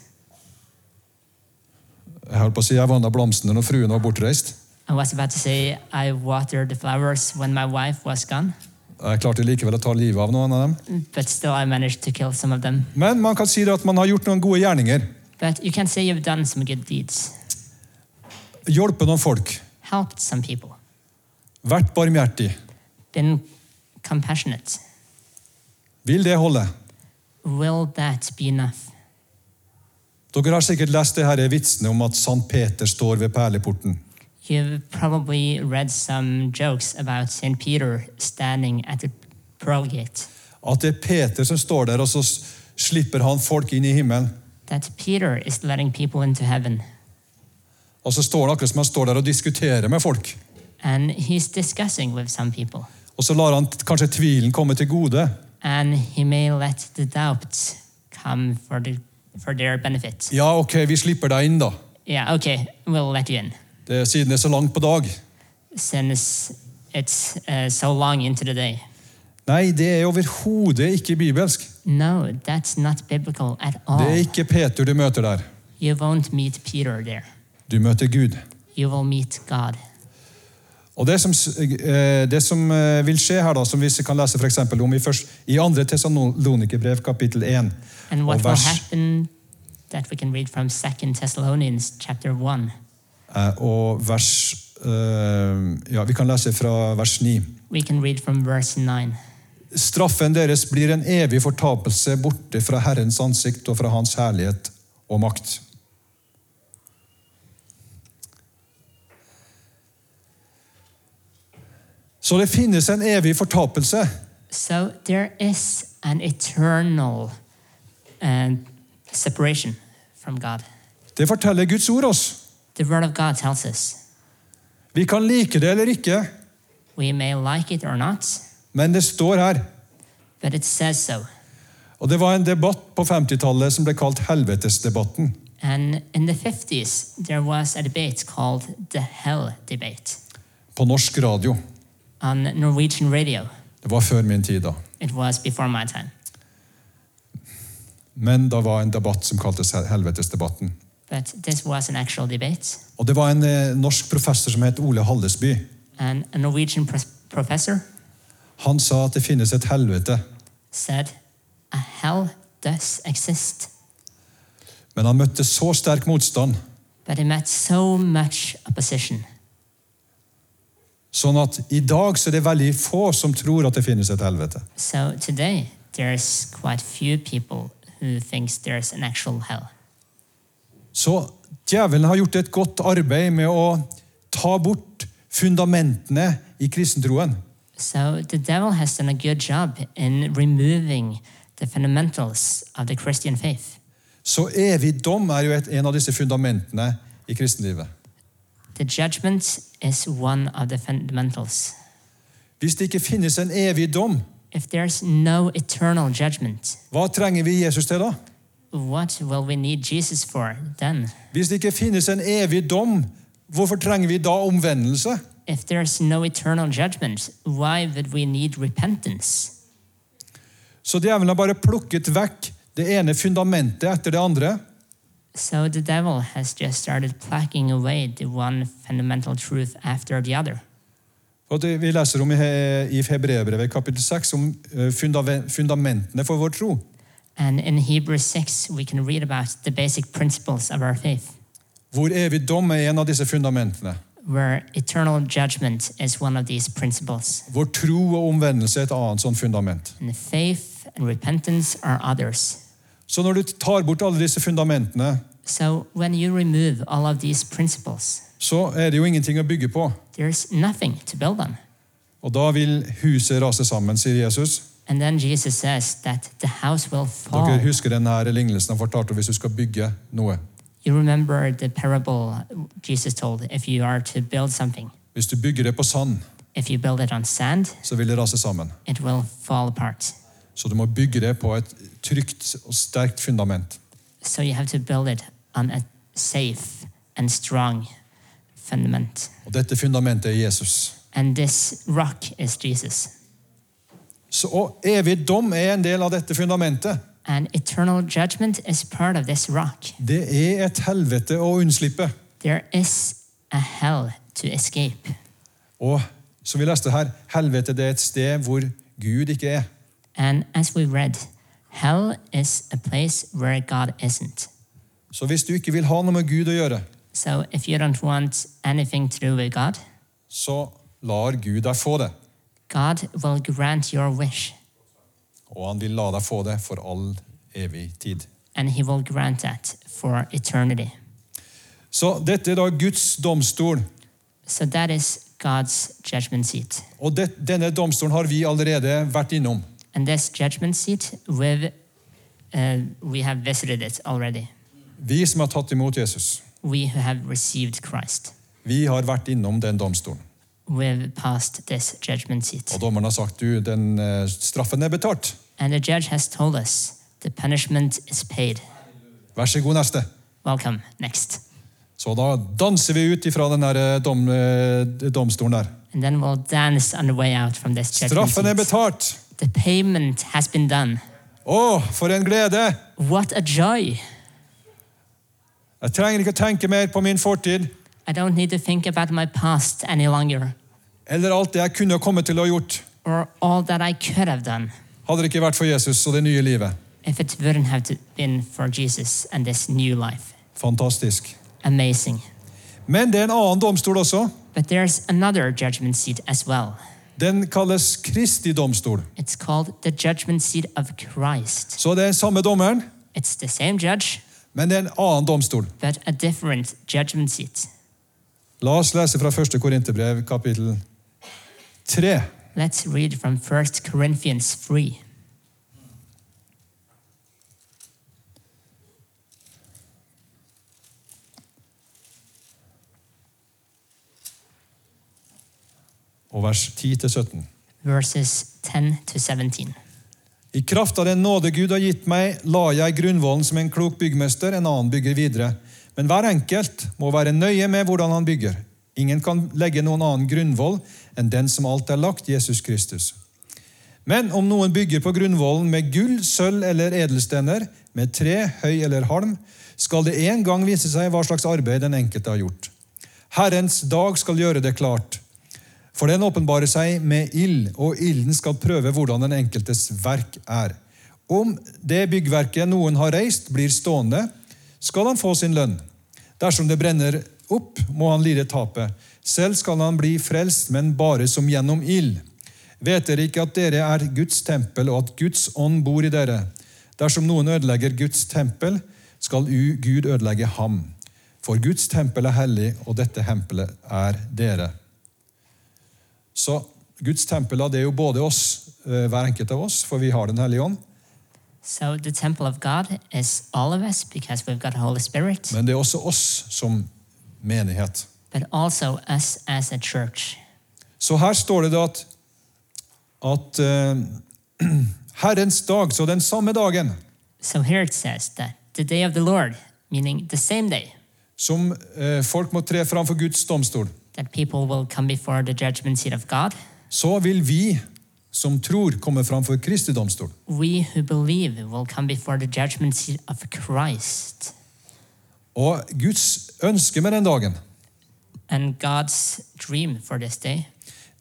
[SPEAKER 2] Jeg holdt på å si jeg vanna blomstene når fruen var bortreist.
[SPEAKER 3] I was about to say I watered the flowers when my wife was gone,
[SPEAKER 2] Jeg klarte likevel å ta livet av noen av dem.
[SPEAKER 3] but still I managed to kill some of them.
[SPEAKER 2] Men man kan si det at man har gjort noen gode gjerninger.
[SPEAKER 3] But you can say you've done some good deeds,
[SPEAKER 2] Hjulpet noen folk.
[SPEAKER 3] helped some people,
[SPEAKER 2] Vært barmhjertig.
[SPEAKER 3] been compassionate.
[SPEAKER 2] Vil det holde?
[SPEAKER 3] Will that be enough?
[SPEAKER 2] Dere har sikkert lest det her vitsene om at Sankt Peter står ved perleporten.
[SPEAKER 3] You've probably read some jokes about St. Peter standing at the pearl gate.
[SPEAKER 2] At det er Peter som står der, og så s- slipper han folk inn i himmelen.
[SPEAKER 3] That Peter is letting people into heaven,
[SPEAKER 2] Og så står han akkurat som han står der og diskuterer med folk.
[SPEAKER 3] and he's discussing with some people,
[SPEAKER 2] Og så lar han t- kanskje tvilen komme til gode.
[SPEAKER 3] and he may let the doubts come for the for their benefit.
[SPEAKER 2] Ja, ok, vi slipper deg inn, da.
[SPEAKER 3] Yeah, okay, we'll let you in.
[SPEAKER 2] Det, siden det er så langt på dag.
[SPEAKER 3] Since it's uh, so long into the day.
[SPEAKER 2] Nei, det er overhodet ikke bibelsk.
[SPEAKER 3] No, that's not biblical at all.
[SPEAKER 2] Det er ikke Peter du møter der.
[SPEAKER 3] You won't meet Peter there.
[SPEAKER 2] Du møter Gud.
[SPEAKER 3] You will meet God.
[SPEAKER 2] Og det som, s- eh, det som eh, vil skje her, da, som vi kan lese for eksempel om i, først, i 2. Tessalonikerbrev kapittel 1
[SPEAKER 3] And
[SPEAKER 2] og
[SPEAKER 3] what will
[SPEAKER 2] vers,
[SPEAKER 3] happen that we can read from 2 Thessalonians chapter 1.
[SPEAKER 2] eh, og vers eh, Ja, vi kan lese fra vers 9.
[SPEAKER 3] We can read from verse 9.
[SPEAKER 2] Straffen deres blir en evig fortapelse borte fra Herrens ansikt og fra Hans herlighet og makt. Så det finnes en evig fortapelse.
[SPEAKER 3] So there is an eternal uh, separation from God.
[SPEAKER 2] Det forteller Guds ord oss.
[SPEAKER 3] The Word of God tells us
[SPEAKER 2] Vi kan like det eller ikke,
[SPEAKER 3] we may like it or not,
[SPEAKER 2] men det står her.
[SPEAKER 3] but it says so.
[SPEAKER 2] Og Det var en debatt på 50-tallet som ble kalt helvetesdebatten.
[SPEAKER 3] And in the 50s, there was a debate called the Hell Debate
[SPEAKER 2] På norsk radio.
[SPEAKER 3] on Norwegian radio.
[SPEAKER 2] Det var før min tid, da.
[SPEAKER 3] It was before my time,
[SPEAKER 2] Men da var en debatt som kaltes hel- helvetesdebatten.
[SPEAKER 3] but this was an actual debate.
[SPEAKER 2] Og Det var en eh, norsk professor som het Ole Hallesby.
[SPEAKER 3] And a Norwegian pros- professor
[SPEAKER 2] Han sa at det finnes et helvete,
[SPEAKER 3] said, A hell does exist.
[SPEAKER 2] men han møtte så sterk motstand
[SPEAKER 3] But it met so much opposition.
[SPEAKER 2] sånn at i dag så er det veldig få som tror at det finnes et helvete.
[SPEAKER 3] So today, there's quite few people who thinks there's an actual hell.
[SPEAKER 2] Så djevelen har gjort et godt arbeid med å ta bort fundamentene i kristentroen.
[SPEAKER 3] So the devil has done a good job in removing the fundamentals of the Christian faith.
[SPEAKER 2] Så evig dom er jo et, en av disse fundamentene i kristenlivet.
[SPEAKER 3] The judgment is one of the fundamentals.
[SPEAKER 2] Hvis det ikke finnes en evig dom,
[SPEAKER 3] If there's no eternal judgment,
[SPEAKER 2] hva trenger vi Jesus til da?
[SPEAKER 3] what will we need Jesus for then?
[SPEAKER 2] Hvis det ikke finnes en evig dom, hvorfor trenger vi da omvendelse?
[SPEAKER 3] If there's no eternal judgment, why would we need repentance?
[SPEAKER 2] Så djevelen har bare plukket vekk det ene fundamentet etter det andre.
[SPEAKER 3] So the devil has just started plucking away the one fundamental truth after the other.
[SPEAKER 2] Og det vi leser om i He- i Hebreerbrevet kapittel 6 om eh, fundaven- fundamentene for vår tro.
[SPEAKER 3] And in Hebrews 6, we can read about the basic principles of our faith,
[SPEAKER 2] Hvor evig dom er en av disse fundamentene.
[SPEAKER 3] where eternal judgment is one of these principles,
[SPEAKER 2] Vår tro og omvendelse er et annet sånn fundament.
[SPEAKER 3] and faith and repentance are others.
[SPEAKER 2] Så når du tar bort alle disse fundamentene,
[SPEAKER 3] So when you remove all of these principles,
[SPEAKER 2] så er det jo ingenting å bygge på.
[SPEAKER 3] there's nothing to build on.
[SPEAKER 2] Og da vil huset rase sammen, sier Jesus.
[SPEAKER 3] And then Jesus says that the house will fall.
[SPEAKER 2] Dere husker denne her lignelsen han fortalte om hvis du skal bygge noe.
[SPEAKER 3] You remember the parable Jesus told if you are to build something,
[SPEAKER 2] Hvis du bygger det på sand,
[SPEAKER 3] if you build it on sand,
[SPEAKER 2] så vil det rase sammen.
[SPEAKER 3] it will fall apart.
[SPEAKER 2] Så du må bygge det på et trygt og sterkt fundament.
[SPEAKER 3] So you have to build it on a safe and strong fundament.
[SPEAKER 2] Og dette fundamentet er Jesus.
[SPEAKER 3] And this rock is Jesus.
[SPEAKER 2] Så, og evig dom er en del av dette fundamentet.
[SPEAKER 3] And eternal judgment is part of this rock.
[SPEAKER 2] Det er et helvete å unnslippe.
[SPEAKER 3] There is a hell to escape.
[SPEAKER 2] Og som vi leste her, helvete det er et sted hvor Gud ikke er.
[SPEAKER 3] And as we read, hell is a place where God isn't.
[SPEAKER 2] Så hvis du ikke vil ha noe med Gud å gjøre,
[SPEAKER 3] So if you don't want anything to do with God,
[SPEAKER 2] så lar Gud deg få det.
[SPEAKER 3] God will grant your wish,
[SPEAKER 2] Og han vil la deg få det for all evig tid.
[SPEAKER 3] and He will grant that for eternity.
[SPEAKER 2] Så dette er da Guds domstol,
[SPEAKER 3] So that is God's judgment seat.
[SPEAKER 2] og det, denne domstolen har vi allerede vært innom.
[SPEAKER 3] And this judgment seat, we've, uh, we have visited it already.
[SPEAKER 2] Vi som har tatt imot Jesus,
[SPEAKER 3] We who have received Christ,
[SPEAKER 2] vi har vært innom den domstolen.
[SPEAKER 3] we've passed this judgment seat.
[SPEAKER 2] Og dommeren har sagt du, den eh, straffen er betalt.
[SPEAKER 3] And the judge has told us the punishment is paid.
[SPEAKER 2] Vær så god, neste.
[SPEAKER 3] Welcome, next.
[SPEAKER 2] Så da danser vi ut ifra den der eh, dom, eh, domstolen der.
[SPEAKER 3] And then we'll dance on the way out from this judgment
[SPEAKER 2] Straffen er
[SPEAKER 3] seat.
[SPEAKER 2] betalt!
[SPEAKER 3] The payment has been done.
[SPEAKER 2] Å, for en glede!
[SPEAKER 3] What a joy!
[SPEAKER 2] Jeg trenger ikke å tenke mer på min fortid
[SPEAKER 3] I don't need to think about my past any longer
[SPEAKER 2] eller alt det jeg kunne komme til å ha gjort,
[SPEAKER 3] or all that I could have done
[SPEAKER 2] hadde det ikke vært for Jesus og det nye livet.
[SPEAKER 3] if it wouldn't have to- been for Jesus and this new life.
[SPEAKER 2] Fantastisk.
[SPEAKER 3] Amazing.
[SPEAKER 2] Men det er en annen domstol også.
[SPEAKER 3] But there's another judgment seat as well.
[SPEAKER 2] Den kalles Kristi domstol.
[SPEAKER 3] It's called the judgment seat of Christ.
[SPEAKER 2] Så det er samme dommeren,
[SPEAKER 3] It's the same judge,
[SPEAKER 2] men det er en annen domstol.
[SPEAKER 3] but a different judgment seat.
[SPEAKER 2] La oss lese fra 1. Korinterbrev, kapittel 3.
[SPEAKER 3] Let's read from 1 Corinthians 3.
[SPEAKER 2] og vers 10-17.
[SPEAKER 3] verses 10 to 17.
[SPEAKER 2] I kraft av den nåde Gud har gitt meg, la jeg grunnvollen som en klok byggmester, en annen bygger videre. Men hver enkelt må være nøye med hvordan han bygger. Ingen kan legge noen annen grunnvoll enn den som alt er lagt, Jesus Kristus. Men om noen bygger på grunnvollen med gull, sølv eller edelstener, med tre, høy eller halm, skal det en gang vise seg hva slags arbeid den enkelte har gjort. Herrens dag skal gjøre det klart, for den åpenbarer seg med ild, og ilden skal prøve hvordan den enkeltes verk er. Om det byggverket noen har reist, blir stående, skal han få sin lønn. Dersom det brenner opp, må han lide tapet. Selv skal han bli frelst, men bare som gjennom ild. Vet dere ikke at dere er Guds tempel, og at Guds ånd bor i dere? Dersom noen ødelegger Guds tempel, skal u- Gud ødelegge ham. For Guds tempel er hellig, og dette tempelet er dere. Så Guds tempel da, det er jo både oss, eh, hver enkelt av oss, for vi har Den hellige ånd.
[SPEAKER 3] So the temple of God is all of us because we've got the Holy Spirit,
[SPEAKER 2] Men det er også oss som menighet.
[SPEAKER 3] but also us as a church.
[SPEAKER 2] Så her står det da at, at eh, Herrens dag, så den samme dagen
[SPEAKER 3] So here it says that the day of the Lord, meaning the same day
[SPEAKER 2] som eh, folk må tre fram for Guds domstol,
[SPEAKER 3] that people will come before the judgment seat of God,
[SPEAKER 2] så vil vi som tror, komme fram for Kristi domstol.
[SPEAKER 3] we who believe will come before the judgment seat of Christ.
[SPEAKER 2] Og Guds ønske med den dagen
[SPEAKER 3] And God's dream for this day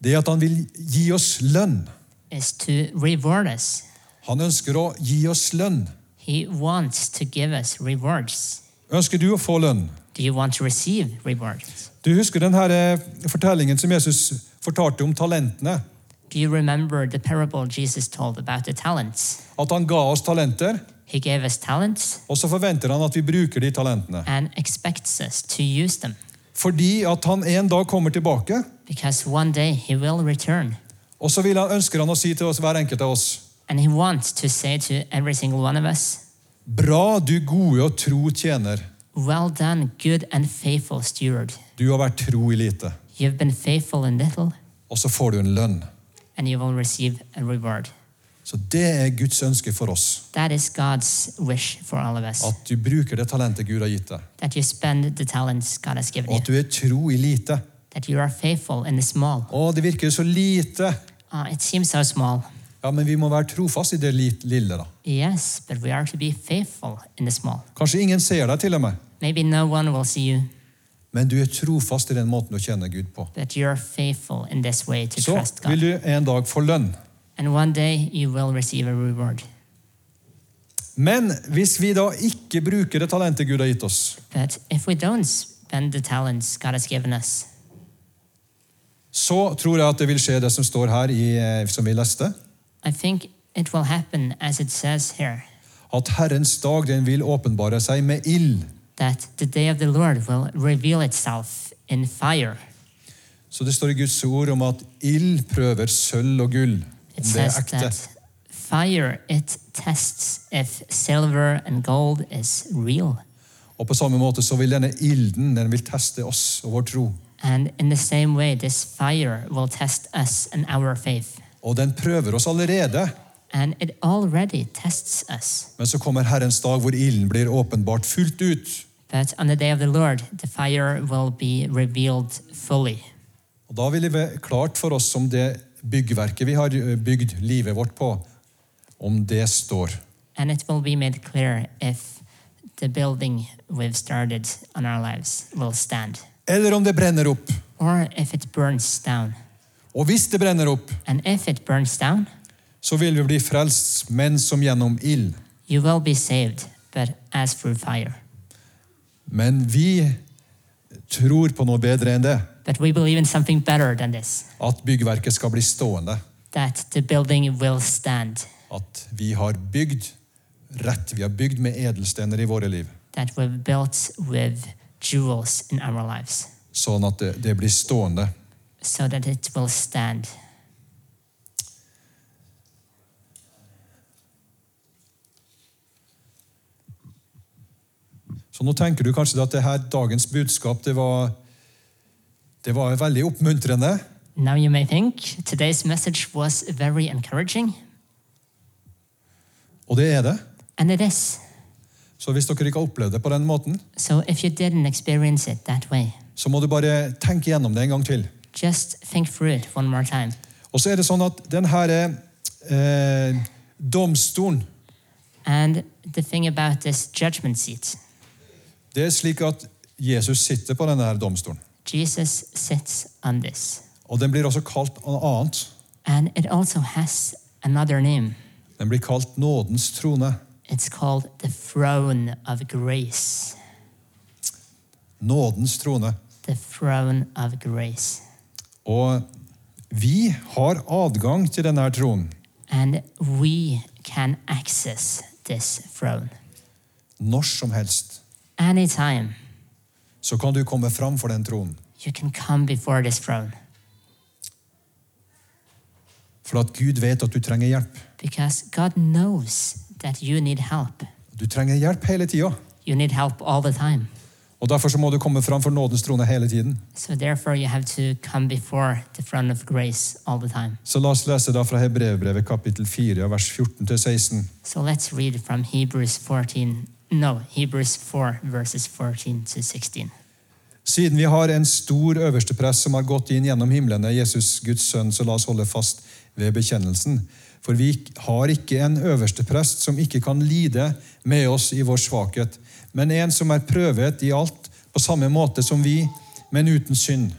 [SPEAKER 2] det er at han vil gi oss lønn.
[SPEAKER 3] is to reward us.
[SPEAKER 2] Han ønsker å gi oss lønn.
[SPEAKER 3] He wants to give us rewards.
[SPEAKER 2] Ønsker du å få lønn?
[SPEAKER 3] Do you want to receive rewards?
[SPEAKER 2] Du husker den her eh, fortellingen som Jesus fortalte om talentene?
[SPEAKER 3] Do you remember the parable Jesus told about the talents?
[SPEAKER 2] At han ga oss talenter,
[SPEAKER 3] He gave us talents
[SPEAKER 2] og så forventer han at vi bruker de talentene.
[SPEAKER 3] and expects us to use them
[SPEAKER 2] Fordi at han en dag kommer tilbake,
[SPEAKER 3] because one day He will return.
[SPEAKER 2] og så vil han, ønsker han å si til oss, hver enkelt av oss
[SPEAKER 3] And He wants to say to every single one of us,
[SPEAKER 2] Bra, du gode og tro tjener.
[SPEAKER 3] Well done, good and faithful steward.
[SPEAKER 2] Du har vært tro i lite.
[SPEAKER 3] You've been faithful in little,
[SPEAKER 2] Og så får du en lønn.
[SPEAKER 3] and you will receive a reward.
[SPEAKER 2] Så det er Guds ønske for oss.
[SPEAKER 3] That is God's wish for all of us
[SPEAKER 2] At du bruker det talentet Gud har gitt deg.
[SPEAKER 3] that you spend the talents God has given
[SPEAKER 2] Og
[SPEAKER 3] you,
[SPEAKER 2] at du er tro i lite.
[SPEAKER 3] that you are faithful in the small.
[SPEAKER 2] Å, det virker jo så lite.
[SPEAKER 3] Uh, it seems so small.
[SPEAKER 2] Ja, men vi må være trofast i det li- lille, da.
[SPEAKER 3] Yes, but we are to be faithful in the small.
[SPEAKER 2] Kanskje ingen ser deg, til og med.
[SPEAKER 3] Maybe no one will see you,
[SPEAKER 2] Men du er trofast i den måten du kjenner Gud på.
[SPEAKER 3] but you are faithful in this way to
[SPEAKER 2] Så
[SPEAKER 3] trust God.
[SPEAKER 2] vil du en dag få lønn.
[SPEAKER 3] And one day you will receive a reward.
[SPEAKER 2] Men hvis vi da ikke bruker det talentet Gud har gitt oss,
[SPEAKER 3] But if we don't spend the talents God has given us,
[SPEAKER 2] så tror jeg at det vil skje det som står her, i, eh, som vi leste.
[SPEAKER 3] I think it will happen as it says here
[SPEAKER 2] At Herrens dag den vil åpenbare seg med ild.
[SPEAKER 3] that the day of the Lord will reveal itself in fire.
[SPEAKER 2] Så det står i Guds ord om at ild prøver sølv og gull.
[SPEAKER 3] It
[SPEAKER 2] Om det er
[SPEAKER 3] says
[SPEAKER 2] ekte.
[SPEAKER 3] that fire it tests if silver and gold is real.
[SPEAKER 2] Og på samme måte så vil denne ilden den vil teste oss og vår tro.
[SPEAKER 3] And in the same way, this fire will test us and our faith.
[SPEAKER 2] Og den prøver oss allerede.
[SPEAKER 3] And it already tests us.
[SPEAKER 2] Men så kommer Herrens dag hvor ilden blir åpenbart fullt ut.
[SPEAKER 3] But on the day of the Lord, the fire will be revealed fully.
[SPEAKER 2] Og da vil det være klart for oss om det byggverket vi har eh, bygd livet vårt på, om det står.
[SPEAKER 3] And it will be made clear if the building we've started on our lives will stand,
[SPEAKER 2] Eller om det brenner opp.
[SPEAKER 3] or if it burns down.
[SPEAKER 2] Og hvis det brenner opp,
[SPEAKER 3] And if it burns down,
[SPEAKER 2] så vil vi bli frelst, men som gjennom ild.
[SPEAKER 3] you will be saved, but as through fire.
[SPEAKER 2] Men vi tror på noe bedre enn det.
[SPEAKER 3] But we believe in something better than this
[SPEAKER 2] At byggverket skal bli stående.
[SPEAKER 3] that the building will stand,
[SPEAKER 2] At vi har bygd rett. Vi har bygd med edelstener i våre liv.
[SPEAKER 3] that we've built with jewels in our lives,
[SPEAKER 2] Sånn at det, det blir stående.
[SPEAKER 3] so that it will stand.
[SPEAKER 2] Så nå tenker du kanskje at det her dagens budskap det var, det var veldig oppmuntrende.
[SPEAKER 3] Now you may think today's message was very encouraging,
[SPEAKER 2] Og det er det.
[SPEAKER 3] and it is.
[SPEAKER 2] Så hvis dere ikke har opplevd det på den måten,
[SPEAKER 3] So if you didn't experience it that way,
[SPEAKER 2] så må du bare tenke gjennom det en gang til.
[SPEAKER 3] just think through it one more time.
[SPEAKER 2] Og så er det sånn at den her eh, domstolen
[SPEAKER 3] And the thing about this judgment seat,
[SPEAKER 2] Det er slik at Jesus sitter på denne her domstolen.
[SPEAKER 3] Jesus sits on this.
[SPEAKER 2] Og den blir også kalt noe annet.
[SPEAKER 3] And it also has another name.
[SPEAKER 2] Den blir kalt nådens trone.
[SPEAKER 3] It's called the throne of grace.
[SPEAKER 2] Nådens trone.
[SPEAKER 3] The throne of grace.
[SPEAKER 2] Og vi har adgang til denne her tronen
[SPEAKER 3] And we can access this throne
[SPEAKER 2] når som helst.
[SPEAKER 3] anytime.
[SPEAKER 2] Så kan du komme fram for den tronen.
[SPEAKER 3] You can come before this throne
[SPEAKER 2] For at Gud vet at du trenger hjelp.
[SPEAKER 3] because God knows that you need help.
[SPEAKER 2] Du trenger hjelp hele tida.
[SPEAKER 3] You need help all the time.
[SPEAKER 2] Og derfor så må du komme fram for nådens trone hele tiden.
[SPEAKER 3] So, therefore, you have to come before the throne of grace all the time.
[SPEAKER 2] Så la oss lese da fra Hebrevbrevet kapittel 4, vers 14-16.
[SPEAKER 3] So, let's read from Hebrews 14. No, Hebrews 4, verses 14 to 16.
[SPEAKER 2] Siden vi har en stor øversteprest som har gått inn gjennom himlene, Jesus Guds sønn, så la oss holde fast ved bekjennelsen. For vi har ikke en øversteprest som ikke kan lide med oss i vår svakhet, men en som er prøvet i alt på samme måte som vi, men uten synd.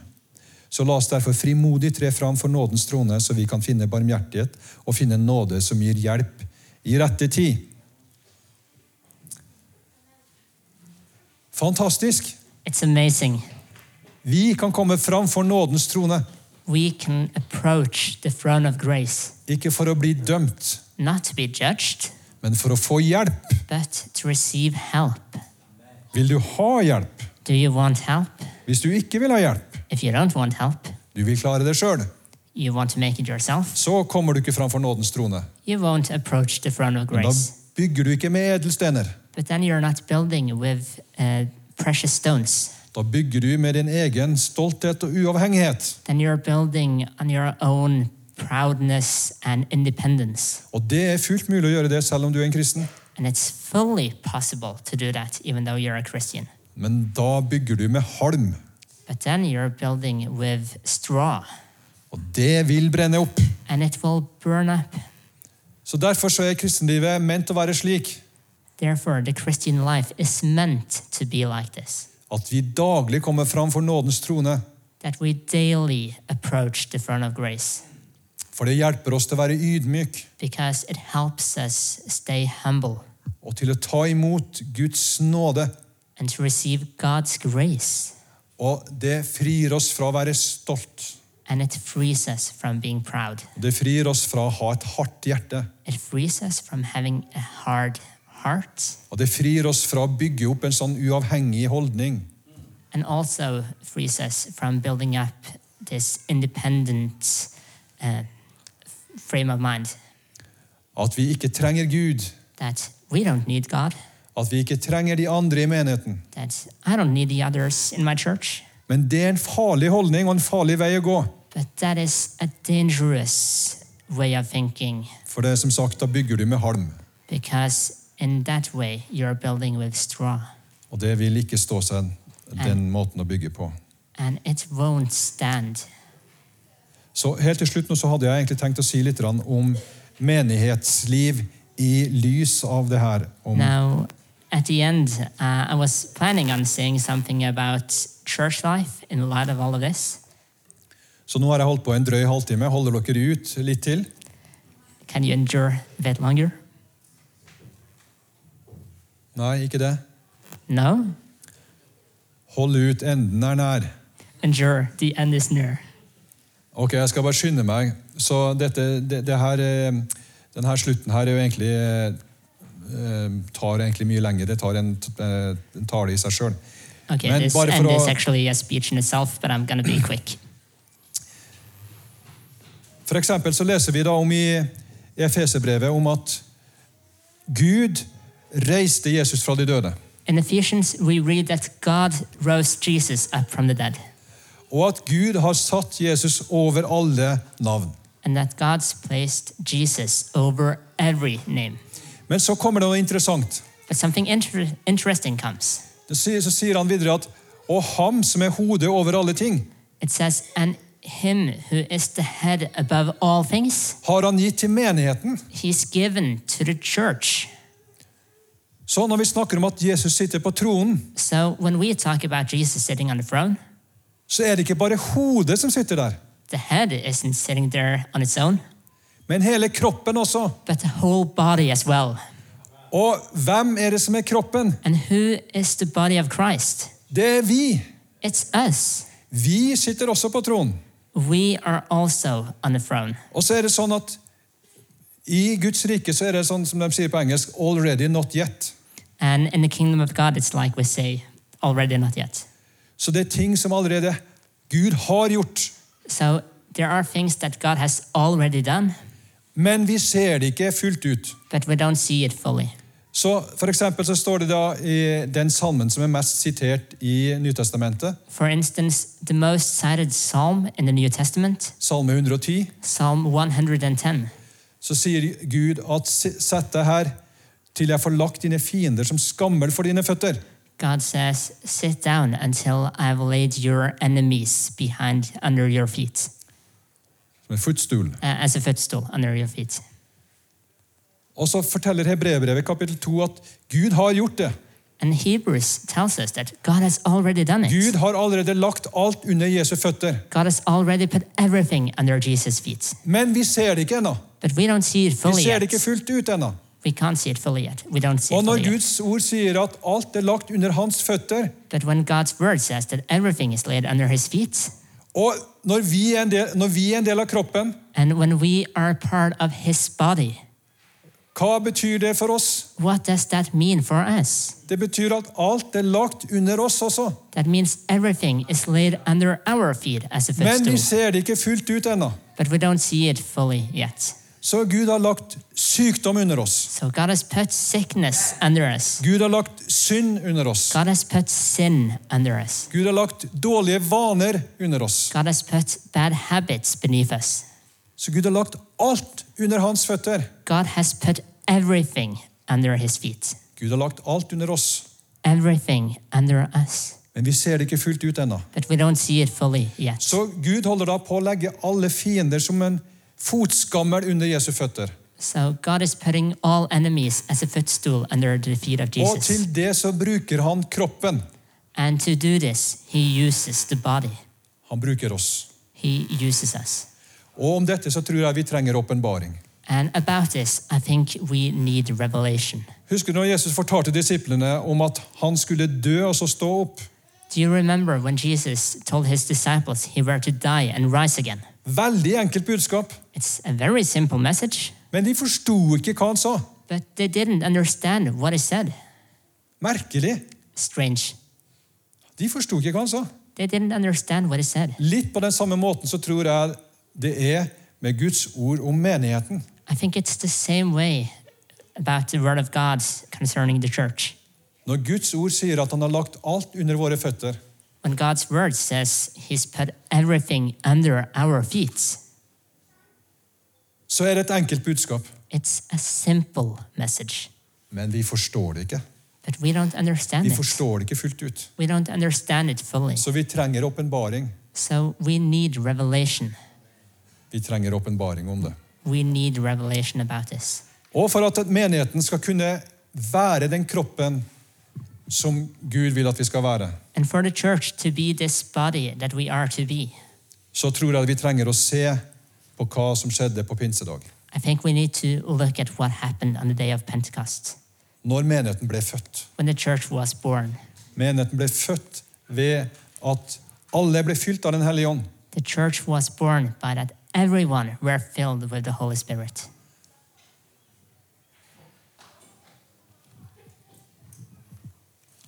[SPEAKER 2] Så la oss derfor frimodig tre fram for nådens trone, så vi kan finne barmhjertighet og finne nåde som gir hjelp i rette tid. Fantastisk!
[SPEAKER 3] It's amazing.
[SPEAKER 2] Vi kan komme fram for nådens trone,
[SPEAKER 3] We can approach the throne of grace
[SPEAKER 2] ikke for å bli dømt,
[SPEAKER 3] not to be judged,
[SPEAKER 2] men for å få hjelp.
[SPEAKER 3] but to receive help.
[SPEAKER 2] Vil du ha hjelp?
[SPEAKER 3] Do you want help?
[SPEAKER 2] Hvis du ikke vil ha hjelp,
[SPEAKER 3] If you don't want help,
[SPEAKER 2] du vil klare det sjøl,
[SPEAKER 3] you want to make it yourself,
[SPEAKER 2] så kommer du ikke fram for nådens trone.
[SPEAKER 3] you won't approach the throne of
[SPEAKER 2] Men Da
[SPEAKER 3] grace.
[SPEAKER 2] bygger du ikke med edelstener.
[SPEAKER 3] But then you're not building with uh, precious stones.
[SPEAKER 2] Da bygger du med din egen stolthet og uavhengighet.
[SPEAKER 3] Then you're building on your own proudness and independence.
[SPEAKER 2] Og det er fullt mulig å gjøre det selv om du er en kristen.
[SPEAKER 3] And it's fully possible to do that even though you're a Christian.
[SPEAKER 2] Men da bygger du med halm.
[SPEAKER 3] But then you're building with straw
[SPEAKER 2] Og det vil brenne opp.
[SPEAKER 3] and it will burn up.
[SPEAKER 2] Så derfor så er kristenlivet ment å være slik
[SPEAKER 3] Therefore, the Christian life is meant to be like this
[SPEAKER 2] at vi daglig kommer fram for nådens trone.
[SPEAKER 3] that we daily approach the throne of grace
[SPEAKER 2] For det hjelper oss til å være ydmyk
[SPEAKER 3] because it helps us stay humble
[SPEAKER 2] og til å ta imot Guds nåde.
[SPEAKER 3] and to receive God's grace.
[SPEAKER 2] Og det frir oss fra å være stolt.
[SPEAKER 3] and it frees us from being proud.
[SPEAKER 2] Det frir oss fra å ha et hardt hjerte.
[SPEAKER 3] It frees us from having a hard heart
[SPEAKER 2] Og det frir oss fra å bygge opp en sånn uavhengig holdning.
[SPEAKER 3] and also frees us from building up this independent uh, f- frame of mind
[SPEAKER 2] At vi ikke trenger Gud.
[SPEAKER 3] that we don't need God,
[SPEAKER 2] At vi ikke trenger de andre i menigheten.
[SPEAKER 3] that I don't need the others in my church.
[SPEAKER 2] Men det er en farlig holdning og en farlig vei å gå.
[SPEAKER 3] But that is a dangerous way of thinking
[SPEAKER 2] For det er som sagt, da bygger du med halm.
[SPEAKER 3] because in that way you're building with straw
[SPEAKER 2] Og det vil ikke stå seg den måten å bygge på.
[SPEAKER 3] and it won't stand.
[SPEAKER 2] Så helt til slutt nå så hadde jeg egentlig tenkt å si litt grann om menighetsliv i lys av det her. Om,
[SPEAKER 3] Now, at the end, uh, I was planning on saying something about church life in light of all of this.
[SPEAKER 2] så nå har jeg holdt på en drøy halvtime. Holder dere ut litt til?
[SPEAKER 3] Can you endure a bit longer?
[SPEAKER 2] Nei, ikke det.
[SPEAKER 3] No?
[SPEAKER 2] Hold ut, enden er nær.
[SPEAKER 3] Endure, the end is near.
[SPEAKER 2] Ok, jeg skal bare skynde meg. Så dette, det, det her, eh, den her slutten her er jo egentlig eh, tar egentlig mye lenger. Det tar en, t- eh, en tale i seg sjøl.
[SPEAKER 3] Okay,
[SPEAKER 2] Men
[SPEAKER 3] this
[SPEAKER 2] bare for
[SPEAKER 3] end is
[SPEAKER 2] å-
[SPEAKER 3] actually a speech in itself, but I'm going to be quick.
[SPEAKER 2] For eksempel så leser vi da om i Efeserbrevet om at Gud reiste Jesus fra de døde.
[SPEAKER 3] In Ephesians, we read that God rose Jesus up from the dead.
[SPEAKER 2] og at Gud har satt Jesus over alle navn.
[SPEAKER 3] and that God's placed Jesus over every name.
[SPEAKER 2] Men så kommer det noe interessant.
[SPEAKER 3] But something inter- interesting comes.
[SPEAKER 2] Det sier- Så sier han videre at Og ham som er hodet over alle ting,
[SPEAKER 3] It says, And him who is the head above all things,
[SPEAKER 2] har han gitt til menigheten.
[SPEAKER 3] he's given to the church.
[SPEAKER 2] Så når vi snakker om at Jesus sitter på tronen,
[SPEAKER 3] So when we talk about Jesus sitting on the throne,
[SPEAKER 2] så er det ikke bare hodet som sitter der,
[SPEAKER 3] the head isn't sitting there on its own,
[SPEAKER 2] men hele kroppen også.
[SPEAKER 3] but the whole body as well.
[SPEAKER 2] Og hvem er det som er kroppen?
[SPEAKER 3] And who is the body of Christ?
[SPEAKER 2] Det er vi.
[SPEAKER 3] It's us.
[SPEAKER 2] Vi sitter også på tronen.
[SPEAKER 3] We are also on the throne.
[SPEAKER 2] Og så er det sånn at i Guds rike så er det sånn som de sier på engelsk already not yet.
[SPEAKER 3] And in the kingdom of God, it's like we say, already not yet.
[SPEAKER 2] Så det er ting som allerede Gud har gjort,
[SPEAKER 3] So there are things that God has already done,
[SPEAKER 2] men vi ser det ikke fullt ut.
[SPEAKER 3] but we don't see it fully.
[SPEAKER 2] Så for eksempel så står det da i den salmen som er mest sitert i Nytestamentet,
[SPEAKER 3] For instance, the most cited psalm in the New Testament,
[SPEAKER 2] Salme 110,
[SPEAKER 3] Psalm 110,
[SPEAKER 2] så sier Gud at "S- sett deg her til jeg får lagt dine fiender som skammel for dine føtter.
[SPEAKER 3] God says, Sit down until I've laid your enemies behind under your feet,
[SPEAKER 2] Som en footstool.
[SPEAKER 3] uh, as a footstool under your feet.
[SPEAKER 2] Og så forteller Hebreerbrevet kapittel 2 at Gud har gjort det.
[SPEAKER 3] And Hebrews tells us that God has already done it.
[SPEAKER 2] Gud har allerede lagt alt under Jesu føtter.
[SPEAKER 3] God has already put everything under Jesus' feet.
[SPEAKER 2] Men vi ser det ikke ennå.
[SPEAKER 3] But we don't see it
[SPEAKER 2] Vi
[SPEAKER 3] fully
[SPEAKER 2] ser
[SPEAKER 3] yet.
[SPEAKER 2] det ikke fullt ut ennå.
[SPEAKER 3] We can't see it fully yet. We don't see
[SPEAKER 2] Og
[SPEAKER 3] it
[SPEAKER 2] når
[SPEAKER 3] fully yet.
[SPEAKER 2] Guds ord sier at alt er lagt under hans føtter,
[SPEAKER 3] But when God's word says that everything is laid under his feet,
[SPEAKER 2] og når vi er en del, når vi er en del av kroppen,
[SPEAKER 3] and when we are part of his body,
[SPEAKER 2] hva betyr det for oss?
[SPEAKER 3] what does that mean for us?
[SPEAKER 2] Det betyr at alt er lagt under oss også.
[SPEAKER 3] That means everything is laid under our feet as a
[SPEAKER 2] Men vi
[SPEAKER 3] footstool,
[SPEAKER 2] ser det ikke fullt ut ennå.
[SPEAKER 3] but we don't see it fully yet.
[SPEAKER 2] Så Gud har lagt sykdom under oss.
[SPEAKER 3] So God has put sickness under us.
[SPEAKER 2] Gud har lagt synd under oss.
[SPEAKER 3] God has put sin under us.
[SPEAKER 2] Gud har lagt dårlige vaner under oss.
[SPEAKER 3] God has put bad habits beneath us.
[SPEAKER 2] Så Gud har lagt alt under hans føtter.
[SPEAKER 3] God has put everything under his feet.
[SPEAKER 2] Gud har lagt alt under oss.
[SPEAKER 3] Everything under us.
[SPEAKER 2] Men vi ser det ikke fullt ut ennå.
[SPEAKER 3] But we don't see it fully yet.
[SPEAKER 2] Så Gud holder da på å legge alle fiender som en fotskammel under Jesu føtter.
[SPEAKER 3] So God is putting all enemies as a footstool under the feet of
[SPEAKER 2] Og til
[SPEAKER 3] Jesus.
[SPEAKER 2] det så bruker han kroppen.
[SPEAKER 3] And to do this, he uses the body.
[SPEAKER 2] Han bruker oss.
[SPEAKER 3] He uses us.
[SPEAKER 2] Og om dette så tror jeg vi trenger åpenbaring.
[SPEAKER 3] And about this, I think we need revelation.
[SPEAKER 2] Husker du når Jesus fortalte disiplene om at han skulle dø og så stå opp?
[SPEAKER 3] Do you remember when Jesus told his disciples he were to die and rise again?
[SPEAKER 2] Veldig enkelt budskap.
[SPEAKER 3] It's a very simple message,
[SPEAKER 2] Men de forsto ikke hva han sa.
[SPEAKER 3] but they didn't understand what he said.
[SPEAKER 2] Merkelig.
[SPEAKER 3] Strange.
[SPEAKER 2] De forsto ikke hva han sa.
[SPEAKER 3] They didn't understand what he said.
[SPEAKER 2] Litt på den samme måten så tror jeg det er med Guds ord om menigheten.
[SPEAKER 3] I think it's the same way about the word of God concerning the church.
[SPEAKER 2] Når Guds ord sier at han har lagt alt under våre føtter,
[SPEAKER 3] When God's word says he's put everything under our feet,
[SPEAKER 2] så er det et enkelt budskap.
[SPEAKER 3] it's a simple message.
[SPEAKER 2] Men vi forstår det ikke.
[SPEAKER 3] But we don't understand
[SPEAKER 2] Vi
[SPEAKER 3] it.
[SPEAKER 2] forstår det ikke fullt ut.
[SPEAKER 3] We don't understand it fully.
[SPEAKER 2] Så vi trenger åpenbaring.
[SPEAKER 3] So we need revelation.
[SPEAKER 2] Vi trenger åpenbaring om det.
[SPEAKER 3] We need revelation about this.
[SPEAKER 2] Og for at menigheten skal kunne være den kroppen som Gud vil at vi skal være,
[SPEAKER 3] And for the church to be this body that we are to be,
[SPEAKER 2] så tror jeg vi trenger å se på hva som skjedde på pinsedag.
[SPEAKER 3] I think we need to look at what happened on the day of Pentecost
[SPEAKER 2] Når menigheten ble født.
[SPEAKER 3] when the church was born.
[SPEAKER 2] Menigheten ble født ved at alle ble fylt av Den hellige ånd.
[SPEAKER 3] The church was born by that everyone were filled with the Holy Spirit.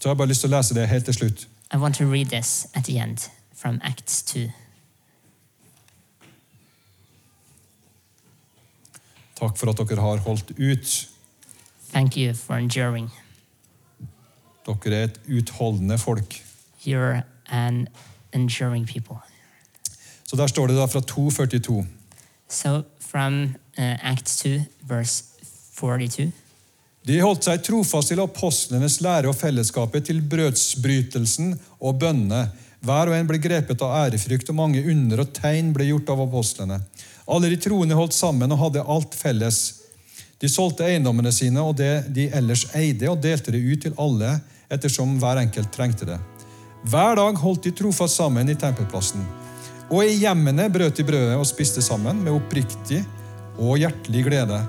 [SPEAKER 2] Så jeg har bare lyst til å lese det helt til slutt.
[SPEAKER 3] I want to read this at the end from Acts 2.
[SPEAKER 2] Takk for at dere har holdt ut.
[SPEAKER 3] Thank you for enduring.
[SPEAKER 2] Dere er et utholdende folk.
[SPEAKER 3] You're an enduring people.
[SPEAKER 2] Så der står det da fra 2.42.
[SPEAKER 3] So from uh, Acts 2, verse 42.
[SPEAKER 2] De holdt seg trofast til apostlenes lære og fellesskapet, til brødsbrytelsen og bønnene. Hver og en ble grepet av ærefrykt, og mange under og tegn ble gjort av apostlene. Alle de troende holdt sammen og hadde alt felles. De solgte eiendommene sine og det de ellers eide, og delte det ut til alle ettersom hver enkelt trengte det. Hver dag holdt de trofast sammen i tempelplassen. Og i hjemmene brøt de brødet og spiste sammen med oppriktig og hjertelig glede.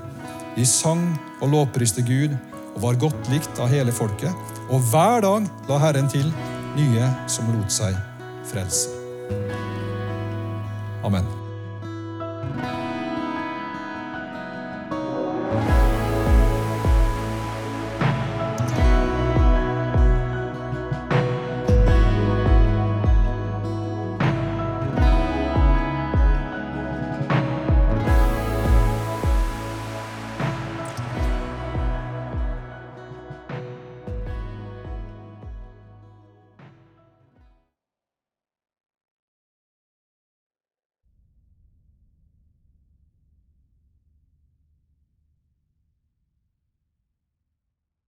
[SPEAKER 2] De sang og lovpriste Gud og var godt likt av hele folket. Og hver dag la Herren til nye som lot seg frelse. Amen.